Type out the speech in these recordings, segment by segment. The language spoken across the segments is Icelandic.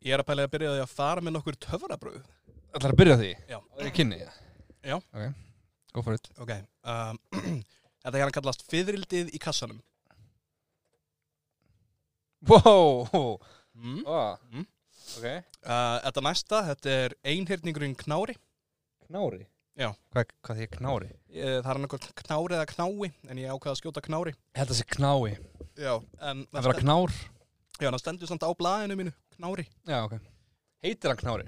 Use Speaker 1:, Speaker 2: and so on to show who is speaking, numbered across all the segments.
Speaker 1: Ég er að pælega að byrja á því að fara með nokkur töfrabröð.
Speaker 2: Það er að byrja á því?
Speaker 1: Já.
Speaker 2: Það er kynni?
Speaker 1: Já.
Speaker 2: Ok, go for it.
Speaker 1: Ok, um, þetta hérna kallast fiðrildið í kassanum.
Speaker 2: Wow! Oh.
Speaker 1: Mm. Mm.
Speaker 2: Ok.
Speaker 1: Uh, þetta næsta, þetta er einhyrningurinn knári.
Speaker 2: Knári?
Speaker 1: Já.
Speaker 2: Hvað, hvað því er knári?
Speaker 1: Ég, Eh, það er nokkur knári eða knái, en ég ákvaða að skjóta knári.
Speaker 2: Ég held að það sé knái.
Speaker 1: Já, en
Speaker 2: Það vera
Speaker 1: sten-
Speaker 2: knár?
Speaker 1: já, það stendur samt á blaðinu mínu, knári.
Speaker 2: Já, ok. Heitir hann knári?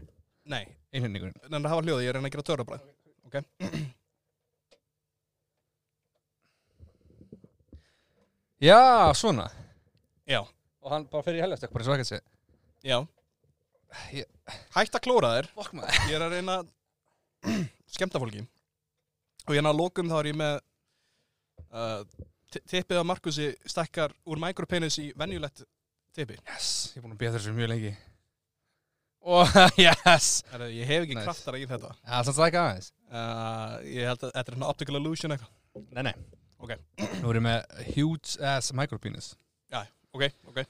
Speaker 1: Nei,
Speaker 2: Einhjörningurinn.
Speaker 1: en það hafa hljóði, ég reyna að gera töfrabröð.
Speaker 2: Já, svona.
Speaker 1: Já,
Speaker 2: Og hann bara fer í helgast bara eins og ekkert sé.
Speaker 1: já.
Speaker 2: Ég-
Speaker 1: Hætt að klóra þér,
Speaker 2: Fuck maður.
Speaker 1: ég er að reyna að skemmta fólki. Og hérna að lokum þá er ég með uh, ti- tippið að Markusi stekkar úr micropenis í venjulegt tippi.
Speaker 2: Yes, ég er búin að beða þessu mjög lengi. Oh, yes!
Speaker 1: Herra, ég hef ekki
Speaker 2: Nice.
Speaker 1: kraftara í þetta.
Speaker 2: Já, það er ekki aðeins.
Speaker 1: Uh, ég held að þetta er hérna optical illusion eitthvað.
Speaker 2: Nei, nei.
Speaker 1: Ok.
Speaker 2: Nú erum við með huge ass micropenis.
Speaker 1: Já, ok, ok.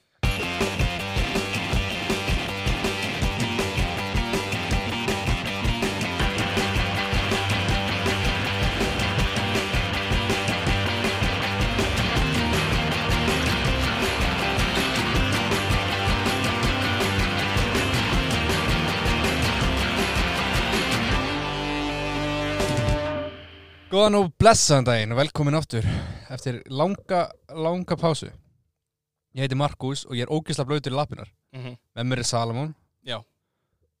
Speaker 2: Góðan og blessaðan daginn og velkomin aftur eftir langa, langa pásu. Ég heiti Markus og ég er ógisla blöytur í lapinar.
Speaker 1: Mm -hmm.
Speaker 2: Með mér er Salomon.
Speaker 1: Já.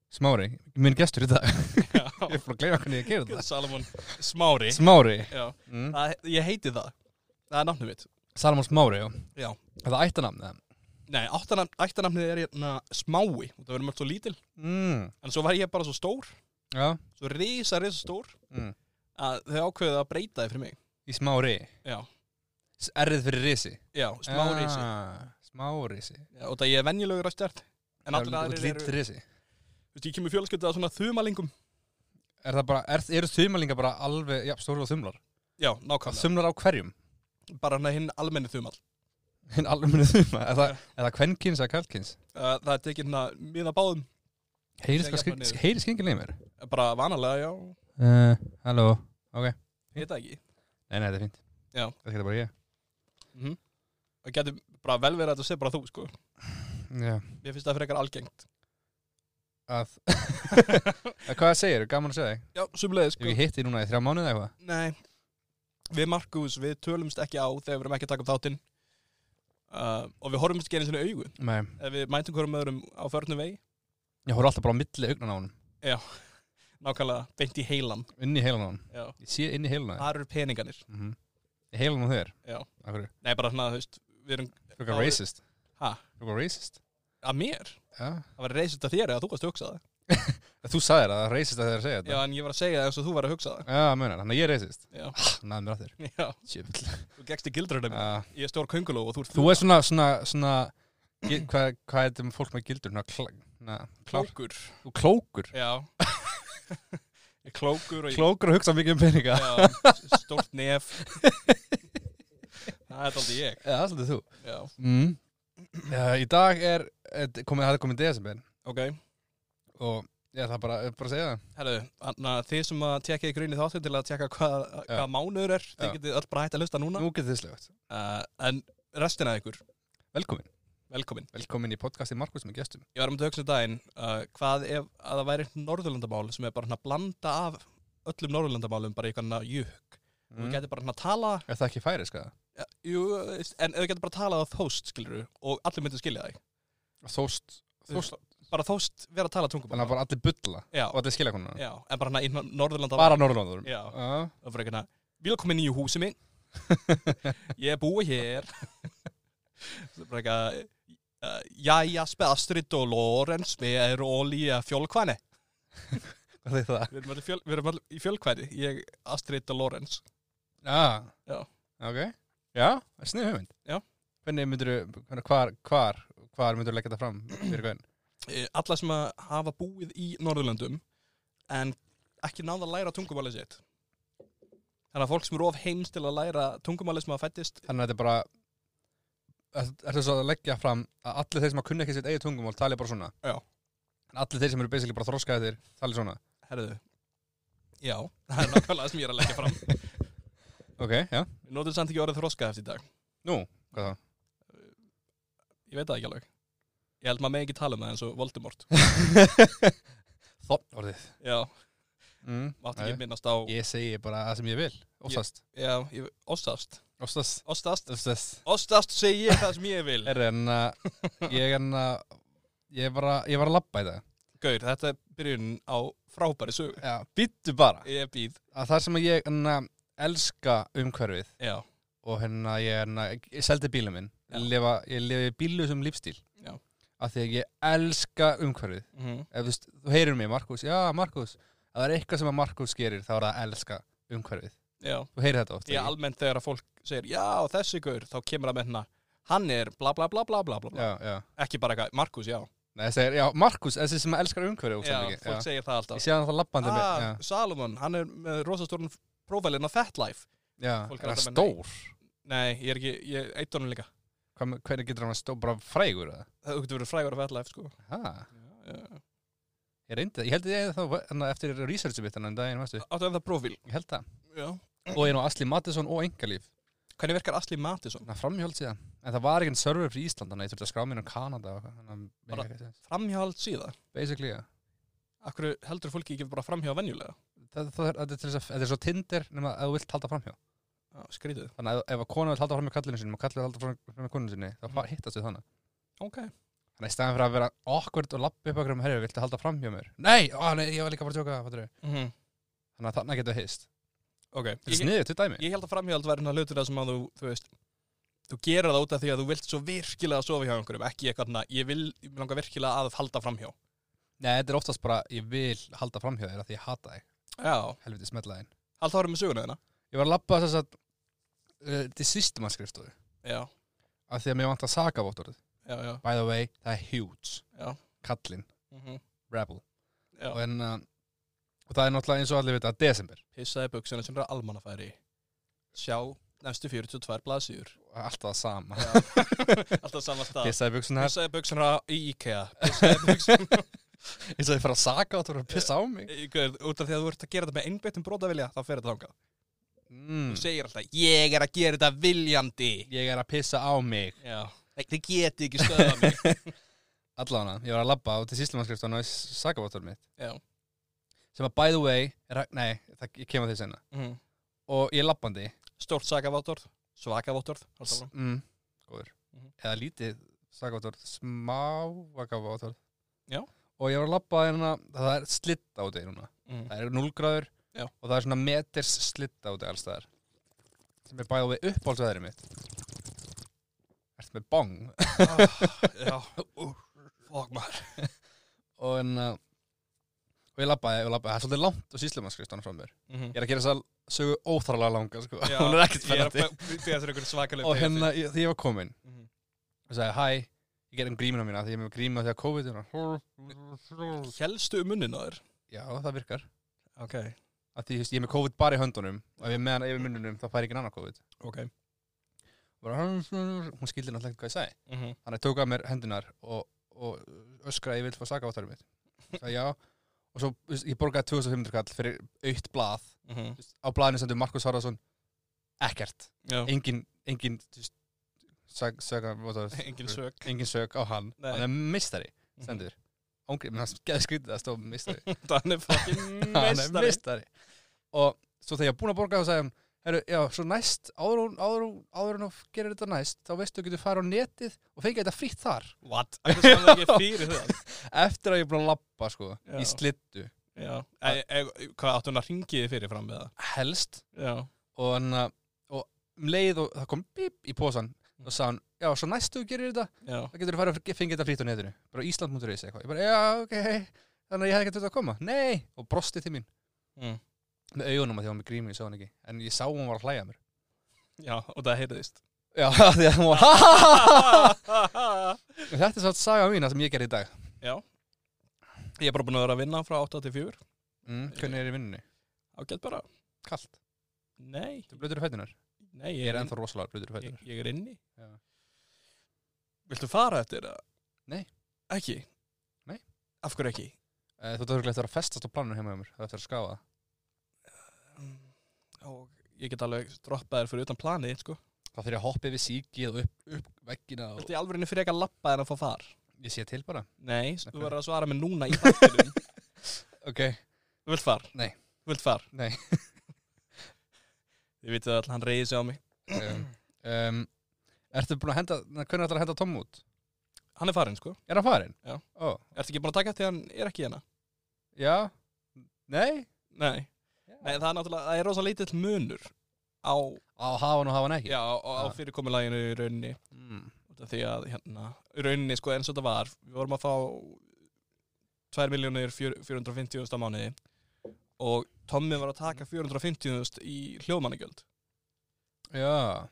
Speaker 2: Smári, minn gestur í dag. ég
Speaker 1: Já,
Speaker 2: er frá að gleyma hvernig ég gerir þetta.
Speaker 1: Salomon Smári.
Speaker 2: Smári.
Speaker 1: Já,
Speaker 2: Mm.
Speaker 1: það, ég heiti það. Það er nafnum mitt.
Speaker 2: Salomon Smári, já.
Speaker 1: Já.
Speaker 2: Er Það ættanamn, það.
Speaker 1: Nei, áttanafn- ættarnafnið er hérna smái. Það verður mörg svo lítil.
Speaker 2: Mm.
Speaker 1: En svo var ég bara svo stór,
Speaker 2: Já.
Speaker 1: svo risa, risa stór,
Speaker 2: Mm.
Speaker 1: að þau ákveðið að breyta þið fyrir mig.
Speaker 2: Í Smári.
Speaker 1: Já,
Speaker 2: S- Rið fyrir risi.
Speaker 1: já, smári risi.
Speaker 2: Ah, Smárisi.
Speaker 1: Já, og það ég er venjulegur að stjart. En allir
Speaker 2: Það er
Speaker 1: aðrir
Speaker 2: lítið
Speaker 1: eru,
Speaker 2: risi.
Speaker 1: þú veist, ég kemur fjölskyldið að svona þumalingum.
Speaker 2: Er það bara, er, eru þumalingar bara alveg, já, stóru og þumlar?
Speaker 1: Já,
Speaker 2: Hvað,
Speaker 1: nákvæmlega.
Speaker 2: þumlar á hverjum?
Speaker 1: Bara hann hinn almenni þumal.
Speaker 2: Hinn almenni þuma, er það, er það kvenkins eða kallkins?
Speaker 1: Uh, það er tekið hérna miða báðum,
Speaker 2: Heyrið
Speaker 1: Segja bara niður.
Speaker 2: skengið skengið mér?
Speaker 1: bara vanalega, já,
Speaker 2: Uh, halló, ok.
Speaker 1: ég veit það ekki.
Speaker 2: Nei, nei, þetta er fínt.
Speaker 1: Já.
Speaker 2: Það getur bara ég.
Speaker 1: Það getur bara vel verið að þetta sé bara þú, sko.
Speaker 2: Já.
Speaker 1: Ég finnst það frekar algengt.
Speaker 2: Að, að hvað segir, gaman að segja þig?
Speaker 1: Já, sumlega,
Speaker 2: Ef
Speaker 1: sko.
Speaker 2: ég hitti þig núna í þrjá mánuði eða eitthvað?
Speaker 1: Nei, við Markus, við tölumst ekki á þegar við erum ekki að taka upp þáttinn. Uh, og við horfumst ekki einu sinni í augu.
Speaker 2: Nei.
Speaker 1: ef við mætum hverjum öðrum á förnum vegi
Speaker 2: Ég horf alltaf bara á milli augnan á honum.
Speaker 1: nákvæmlega beint í heilan
Speaker 2: Inn í heilan á honum.
Speaker 1: já.
Speaker 2: Ég sé inn í heilan á þér.
Speaker 1: það eru peninganir
Speaker 2: Mm -hmm. Í heilan á þér?
Speaker 1: Já.
Speaker 2: Af hverju?
Speaker 1: nei bara svona þú veist við erum
Speaker 2: Fyrir
Speaker 1: Já,
Speaker 2: racist.
Speaker 1: Ha?
Speaker 2: Fyrir racist.
Speaker 1: að mér
Speaker 2: Já.
Speaker 1: það var reysist að þér eða þú varst að hugsa það
Speaker 2: Þú sagðir að það er racist að þér að segja
Speaker 1: já
Speaker 2: þetta.
Speaker 1: en ég var að segja það eins og þú var að hugsa það
Speaker 2: Já, munar. Þannig að ég er racist.
Speaker 1: Já.
Speaker 2: Næðum mér að þér. Ah.
Speaker 1: já
Speaker 2: Sjöfull.
Speaker 1: þú gegst í gildrunum
Speaker 2: Já.
Speaker 1: ég er stór könguló og þú ert
Speaker 2: Þú er svona, svona, svona gil- hvað hva er þetta með fólk með gildur? Ná, kla, na, klár,
Speaker 1: klókur
Speaker 2: þú klókur.
Speaker 1: já ég er klókur og ég
Speaker 2: Klókur að hugsa mikið um peninga.
Speaker 1: já, stórt nef það er aldrei ég
Speaker 2: Já, það er svolítið þú.
Speaker 1: já
Speaker 2: Mm. Uh, í dag er, eh, komið, það er komið desember
Speaker 1: ok
Speaker 2: og ég ætla bara, bara að segja það.
Speaker 1: Herru, þannig að þið sem að tekja í grunni þáttu til að tekja hvað,
Speaker 2: Já.
Speaker 1: hvað mánuður er, þið
Speaker 2: Já.
Speaker 1: getið öll bara hægt að hlusta núna.
Speaker 2: Nú getur þið slögt.
Speaker 1: Uh, en restina af ykkur,
Speaker 2: Velkomin.
Speaker 1: velkomin.
Speaker 2: Velkomin í podcasti Markus með gestum.
Speaker 1: Ég var um að hugsa um daginn uh, hvað ef að það væri norðurlandamál sem er bara hann að blanda af öllum norðurlandamálum bara í eitthvað jökk. Mm. Þú
Speaker 2: Mm.
Speaker 1: getur bara hann að tala,
Speaker 2: Er það ekki færi, sko?
Speaker 1: ja, jú, en þú getur bara talað á þóst, skilur þú, og allir myndir skilja þig.
Speaker 2: Þóst, þóst,
Speaker 1: Bara þóst vera að tala tungum.
Speaker 2: þannig að bara allir bulla
Speaker 1: Já,
Speaker 2: og allir skilja konuna.
Speaker 1: já, en bara hann að í norðurlandamál.
Speaker 2: Bara norðlóðurum.
Speaker 1: Já,
Speaker 2: Já.
Speaker 1: það fyrir eitthvað, vilkomin í húsi minn, ég búi hér. Það er bara eitthvað, uh, jæja, Astrid og Lorenz, við erum ólíja fjólkvæni.
Speaker 2: Hvað þið það?
Speaker 1: Við erum allir, fjöl, við erum allir í fjölkvæði, ég, Astrid og Lorenz.
Speaker 2: Já.
Speaker 1: Já.
Speaker 2: Ah. Ok. Já, það er snið hugmynd.
Speaker 1: Já.
Speaker 2: Hvernig myndur hvernig, hvar, hvar, hvar myndur leggja þetta fram fyrir hvern?
Speaker 1: Eh, Alla sem að hafa búið í Norðurlöndum en ekki náða að læra tungumálið sitt. Þannig að fólk sem eru of heims til að læra tungumálið sem að fættist,
Speaker 2: Þannig að þetta er bara ertu svo að leggja fram að allir þeir sem að kunna ekki sitt eigið tungumál tali bara svona
Speaker 1: Já.
Speaker 2: en allir þeir sem eru basically bara þroskaði þeir tali svona
Speaker 1: Herðu. Já, það er nákvæmlega sem ég er að leggja fram.
Speaker 2: ok, já,
Speaker 1: Við notum samt ekki orðið þroska eftir í dag.
Speaker 2: nú, hvað þá
Speaker 1: Ég veit það ekki alveg. Ég held maður með ekki tala um það eins og Voldemort.
Speaker 2: þopn orðið
Speaker 1: Já,
Speaker 2: mm,
Speaker 1: mátt
Speaker 2: nei.
Speaker 1: ekki minnast á...
Speaker 2: ég segi bara það sem ég vil, oftast
Speaker 1: Já, ég, ostast.
Speaker 2: oftast,
Speaker 1: Ostast.
Speaker 2: oftast
Speaker 1: Ostast segi ég það sem ég vil.
Speaker 2: er en að ég en að ég var að, ég var að labba í það
Speaker 1: Gaur, þetta er byrjun á frábæri sögu.
Speaker 2: já, býttu bara
Speaker 1: Ég býð.
Speaker 2: að það sem að ég en að elska umhverfið
Speaker 1: Já,
Speaker 2: og hérna ég, hérna, ég seldi bílum minn
Speaker 1: Já.
Speaker 2: lifa, ég lifi bílu sem lífstíl
Speaker 1: Já.
Speaker 2: af því að ég elska umhverfið
Speaker 1: mhm,
Speaker 2: Ef, þú, veist, þú heyrir mig, Markus, já Markus ef það er eitthvað sem að Markus gerir þá er það að elska umhverfið,
Speaker 1: já.
Speaker 2: þú heyrir þetta oft
Speaker 1: Því að
Speaker 2: ekki?
Speaker 1: almennt þegar að fólk segir, já, þessi gaur, þá kemur að menna, hann er bla bla bla bla bla bla. bla.
Speaker 2: já, já.
Speaker 1: Ekki bara eitthvað, Markus, já.
Speaker 2: Nei, það segir, já, Markus, þessi sem elskar umhverfið
Speaker 1: Já,
Speaker 2: ógeðslega mikið,
Speaker 1: fólk
Speaker 2: já.
Speaker 1: segir það alltaf.
Speaker 2: ég sé hann það labbandi með já,
Speaker 1: ah, Salomon, hann er með rosastórn prófælinn á Fat Life
Speaker 2: já,
Speaker 1: fólk er
Speaker 2: er það
Speaker 1: alltaf með
Speaker 2: stór
Speaker 1: Nei, ég er ekki, ég eitt honum líka
Speaker 2: Hvað með- hvernig getur hann að stór, bara frægur eða?
Speaker 1: Það þú getur verið frægur á Fat Life, sko
Speaker 2: Ha,
Speaker 1: Já, já.
Speaker 2: ég reyndi, ég held að ég þá hana, eftir researchið mitt þannig daginn, veistu,
Speaker 1: Áttu en það prófíl
Speaker 2: ég held það
Speaker 1: Já
Speaker 2: og ég er nú Asli Mattisson og Engalíf
Speaker 1: Hvernig virkar Asli Matisson?
Speaker 2: þannig að framhjóld síðan, en það var ekkert server fyrir Ísland, þannig að ég þurfti að skrá mér um Kanada og eitthvað, þannig
Speaker 1: Bara-
Speaker 2: að mér
Speaker 1: Framhjáld síða
Speaker 2: basically, já
Speaker 1: Akkur heldur fólki ekki bara framhjá venjulega
Speaker 2: það, það, er- þetta er til þess að, þetta er svo Tinder nema að þú vilt halda framhjá
Speaker 1: Já, Skrítið
Speaker 2: þannig að ef- ef að kona vil halda framhjá kallinu sinni og kallinu vil halda framhjá- framhjá konu sinni þá mm. hittast við þannig
Speaker 1: Ok
Speaker 2: þannig að í staðan fyrir að vera awkward og lappi upp okkur um herri, viltu halda framhjá mér? Nei, ó, nei, ég var líka bara að tjóka þannig að þannig getur við hist
Speaker 1: Mhm. Ok
Speaker 2: þetta er
Speaker 1: ég,
Speaker 2: sniðið, þetta er dæmi
Speaker 1: ég held að framhjáld væri hann að hlutur það sem að þú, þú veist Þú gerir það út af því að þú vilt svo virkilega að sofa hjá einhverjum Ekki eitthvað svona, ég vil, ég vil langa virkilega að halda framhjá
Speaker 2: nei, þetta er oftast bara, ég vil halda framhjá þér af því ég hata þig,
Speaker 1: Já
Speaker 2: helviti smetlaðin
Speaker 1: Halda ára með söguna þeirna
Speaker 2: ég var að lappa þess að uh, til sýstum að skrifstofu
Speaker 1: Já,
Speaker 2: af því að mér vant að saka vottorð
Speaker 1: já, já,
Speaker 2: by the way, það er huge
Speaker 1: já.
Speaker 2: kallinn,
Speaker 1: Mm
Speaker 2: rebel
Speaker 1: já.
Speaker 2: og, en, uh, og það er náttúrulega eins og allir vita desember
Speaker 1: pissaði buksuna sem er almannafæri sjá næstu 42 blaðsýður
Speaker 2: alltaf það sama
Speaker 1: alltaf sama stað
Speaker 2: pissaði buksunar,
Speaker 1: pissaði buksuna í IKEA pissaði buksuna
Speaker 2: eins og þið fara að saka og þú voru að pissa á mig
Speaker 1: Í- Guð, út af því að þú ert að gera þetta með einbyttum brotavilja þá fer þetta þangað
Speaker 2: mm,
Speaker 1: þú segir alltaf ég er að gera þetta viljandi
Speaker 2: ég er að pissa á mig
Speaker 1: já Nei, þið geti ekki stöða mig
Speaker 2: allan að, ég var að labba og til síslumannskrifst og náði sakavottur mitt
Speaker 1: já
Speaker 2: sem að by the way, er, að- nei, það, ég kem að því senna
Speaker 1: mm.
Speaker 2: og ég er labbandi
Speaker 1: stórt sakaváttorð svakaváttorð
Speaker 2: s- mm, góður,
Speaker 1: Mhm.
Speaker 2: eða lítið sakavottur, smávakavottur
Speaker 1: Já.
Speaker 2: og ég var að labba hérna, það er slitt á því núna
Speaker 1: mm.
Speaker 2: það er 0 gráður
Speaker 1: Já.
Speaker 2: og það er svona meters slitt á því alls staðar sem er bæða við uppáhaldsveðrið mitt Ertu með bong
Speaker 1: já fokk maður
Speaker 2: og en uh, og ég labbaði, ég labbaði, það er svolítið langt og síslumannskriftan frá mér.
Speaker 1: Mhm.
Speaker 2: Ég er að gera þess að sögu óþarlega langa, sko, hún er ekkert spennandi.
Speaker 1: fyrir þér einhvern svakaleg
Speaker 2: Og hérna, ég, því ég var komin,
Speaker 1: Mhm.
Speaker 2: og sagði, hæ, ég gerði um grímuna mína, því ég er með grímuna því að COVID er hún.
Speaker 1: helstu um munnin á þér
Speaker 2: Já, það virkar.
Speaker 1: ok
Speaker 2: Að því, þú veist, ég er með COVID bara í höndunum, og ef ég er með hana yfir munnunum, þá fær ég ekki annar COVID.
Speaker 1: ok
Speaker 2: Bara, hún skildi náttúrulega ekki hvað ég sagði.
Speaker 1: mm -hmm.
Speaker 2: Þannig tók að mér hendunar og, og öskraði, ég vil fá saka áttarum mitt. Ég Sagði, já, og svo, þú veist, ég borgaði 2500 kall fyrir aukt blað Þú
Speaker 1: mhm.
Speaker 2: veist, á blaðinu sendur Markus Harðarsson ekkert,
Speaker 1: já
Speaker 2: engin engin þú veist, sag, saga, what was-
Speaker 1: Engin sök.
Speaker 2: engin sök á hann
Speaker 1: Nei.
Speaker 2: hann er mistari, sendur ángri, menn það geði skrítið að stóð mistari
Speaker 1: Hann er fucking
Speaker 2: hann er
Speaker 1: mestari.
Speaker 2: mistari og svo þegar ég er búin að borga þá sagði hann Heru, já, svo næst, áður hún, áður hún, áður hún gerir þetta næst, þá veistu þú getur farið á netið og fengið þetta frítt þar
Speaker 1: What? Það er svona ekki fyrir það.
Speaker 2: eftir að ég er búin að labba, sko,
Speaker 1: Já.
Speaker 2: í slittu
Speaker 1: Já. E, e, hvað áttu hún að ringi þið fyrir fram með það?
Speaker 2: helst
Speaker 1: Já.
Speaker 2: og, hann, uh, og um leið og það kom bíp í posan og sagði hann, já, svo næstu þú gerir þetta
Speaker 1: Já.
Speaker 2: það getur þú farið að fengja þetta frýtt á netinu bara á Ísland.is eitthvað, ég bara, já, ok þannig að ég hefði ekki þetta að koma, nei og brosti til mín,
Speaker 1: Mm.
Speaker 2: með augunum að því að hann með grími, ég sá hann ekki en ég sá hún var að hlæja að mér
Speaker 1: Já, og það heyrðist.
Speaker 2: já, af því að hún var, ha, ha, ha, ha
Speaker 1: Já.
Speaker 2: En þetta er svo að saga mína sem ég gerði í dag
Speaker 1: Ég er bara búin að vera að vinna frá 8 til 4.
Speaker 2: mm, hvernig er í vinnunni,
Speaker 1: Ágætt bara.
Speaker 2: kallt,
Speaker 1: Nei.
Speaker 2: þú blöður í fætunar
Speaker 1: Nei,
Speaker 2: ég er ennþá rosalega blöður í
Speaker 1: Ég,
Speaker 2: fætunar
Speaker 1: ég er inni.
Speaker 2: Já.
Speaker 1: Viltu fara eftir það?
Speaker 2: Nei.
Speaker 1: Ekki?
Speaker 2: Nei.
Speaker 1: Af hverju ekki?
Speaker 2: Eh, Þú ert örugglega eftir að festast á planinu heima hjá mér. Það er eftir að skáfa. það.
Speaker 1: Og ég get alveg droppað þér fyrir utan planið, sko.
Speaker 2: Þá þurfir ég að hoppa yfir síkið og upp, upp veggina og...
Speaker 1: Viltu í alveg fyrir ekki að lappa þér að fá þar?
Speaker 2: Ég sé til bara.
Speaker 1: Nei,
Speaker 2: Nei,
Speaker 1: þú
Speaker 2: hvað?
Speaker 1: verður að svara mér núna í þáttunum.
Speaker 2: Ok.
Speaker 1: Þú vilt far?
Speaker 2: Nei.
Speaker 1: Þú vilt far?
Speaker 2: Nei.
Speaker 1: Ég veit að all, hann reyði sig á mig.
Speaker 2: um, um, Ertu búin að henda, na, hvernig ætlar að henda Tom út?
Speaker 1: Hann er farinn, sko.
Speaker 2: Er hann farinn?
Speaker 1: Já.
Speaker 2: Ó,
Speaker 1: Ertu ekki búin að taka eftir að hann er ekki hérna?
Speaker 2: já? Nei?
Speaker 1: Nei.
Speaker 2: Já.
Speaker 1: Nei, það er náttúrulega, það er rosa lítill munur á,
Speaker 2: Á að hafa hann og hafa hann ekki?
Speaker 1: já, á, á
Speaker 2: Já.
Speaker 1: fyrirkomulaginu í rauninni.
Speaker 2: Mm.
Speaker 1: Út af Því að, hérna, í rauninni, sko, eins og þetta var, við vorum að fá 2.450.000 á mánuði og Tommi var að taka 450.000 í hljóðmannigjöld.
Speaker 2: Já.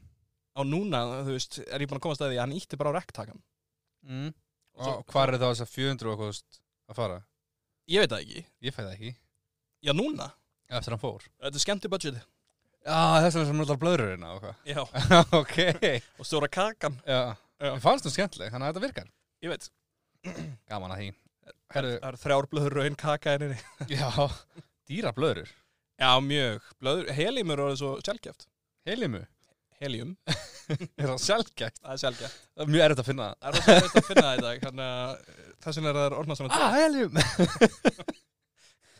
Speaker 1: Á núna, þú veist, er ég búin að komast að því að hann ítti bara á rekktakan.
Speaker 2: Mm.
Speaker 1: Og svo-
Speaker 2: Og Hvar er það þess að 400 og kost að fara?
Speaker 1: Ég veit það ekki.
Speaker 2: Ég fæði það ekki.
Speaker 1: Já, núna.
Speaker 2: Eftir að hann fór.
Speaker 1: Þetta er skemmti budget.
Speaker 2: Já, þess vegna sem hann alltaf blöður hérna og hvað.
Speaker 1: Já.
Speaker 2: ok.
Speaker 1: Og stóra kakan.
Speaker 2: Já.
Speaker 1: Já.
Speaker 2: Mér fannst hún skemmtileg, þannig að þetta virkar.
Speaker 1: Ég veit.
Speaker 2: Gaman að því. Herru,
Speaker 1: Það er þrjár blöður raun kaka henni.
Speaker 2: já, dýra blöður.
Speaker 1: Já, mjög. Blöður, helium er orðið svo sjálfgeft.
Speaker 2: Helimu.
Speaker 1: Helium.
Speaker 2: Er það sjálfgætt?
Speaker 1: Það er sjálfgeft.
Speaker 2: Það er mjög erfitt að finna það.
Speaker 1: Það er rosa erfitt að finna það í dag. Þannig að þess vegna er það orðnað svona
Speaker 2: Ah, helium!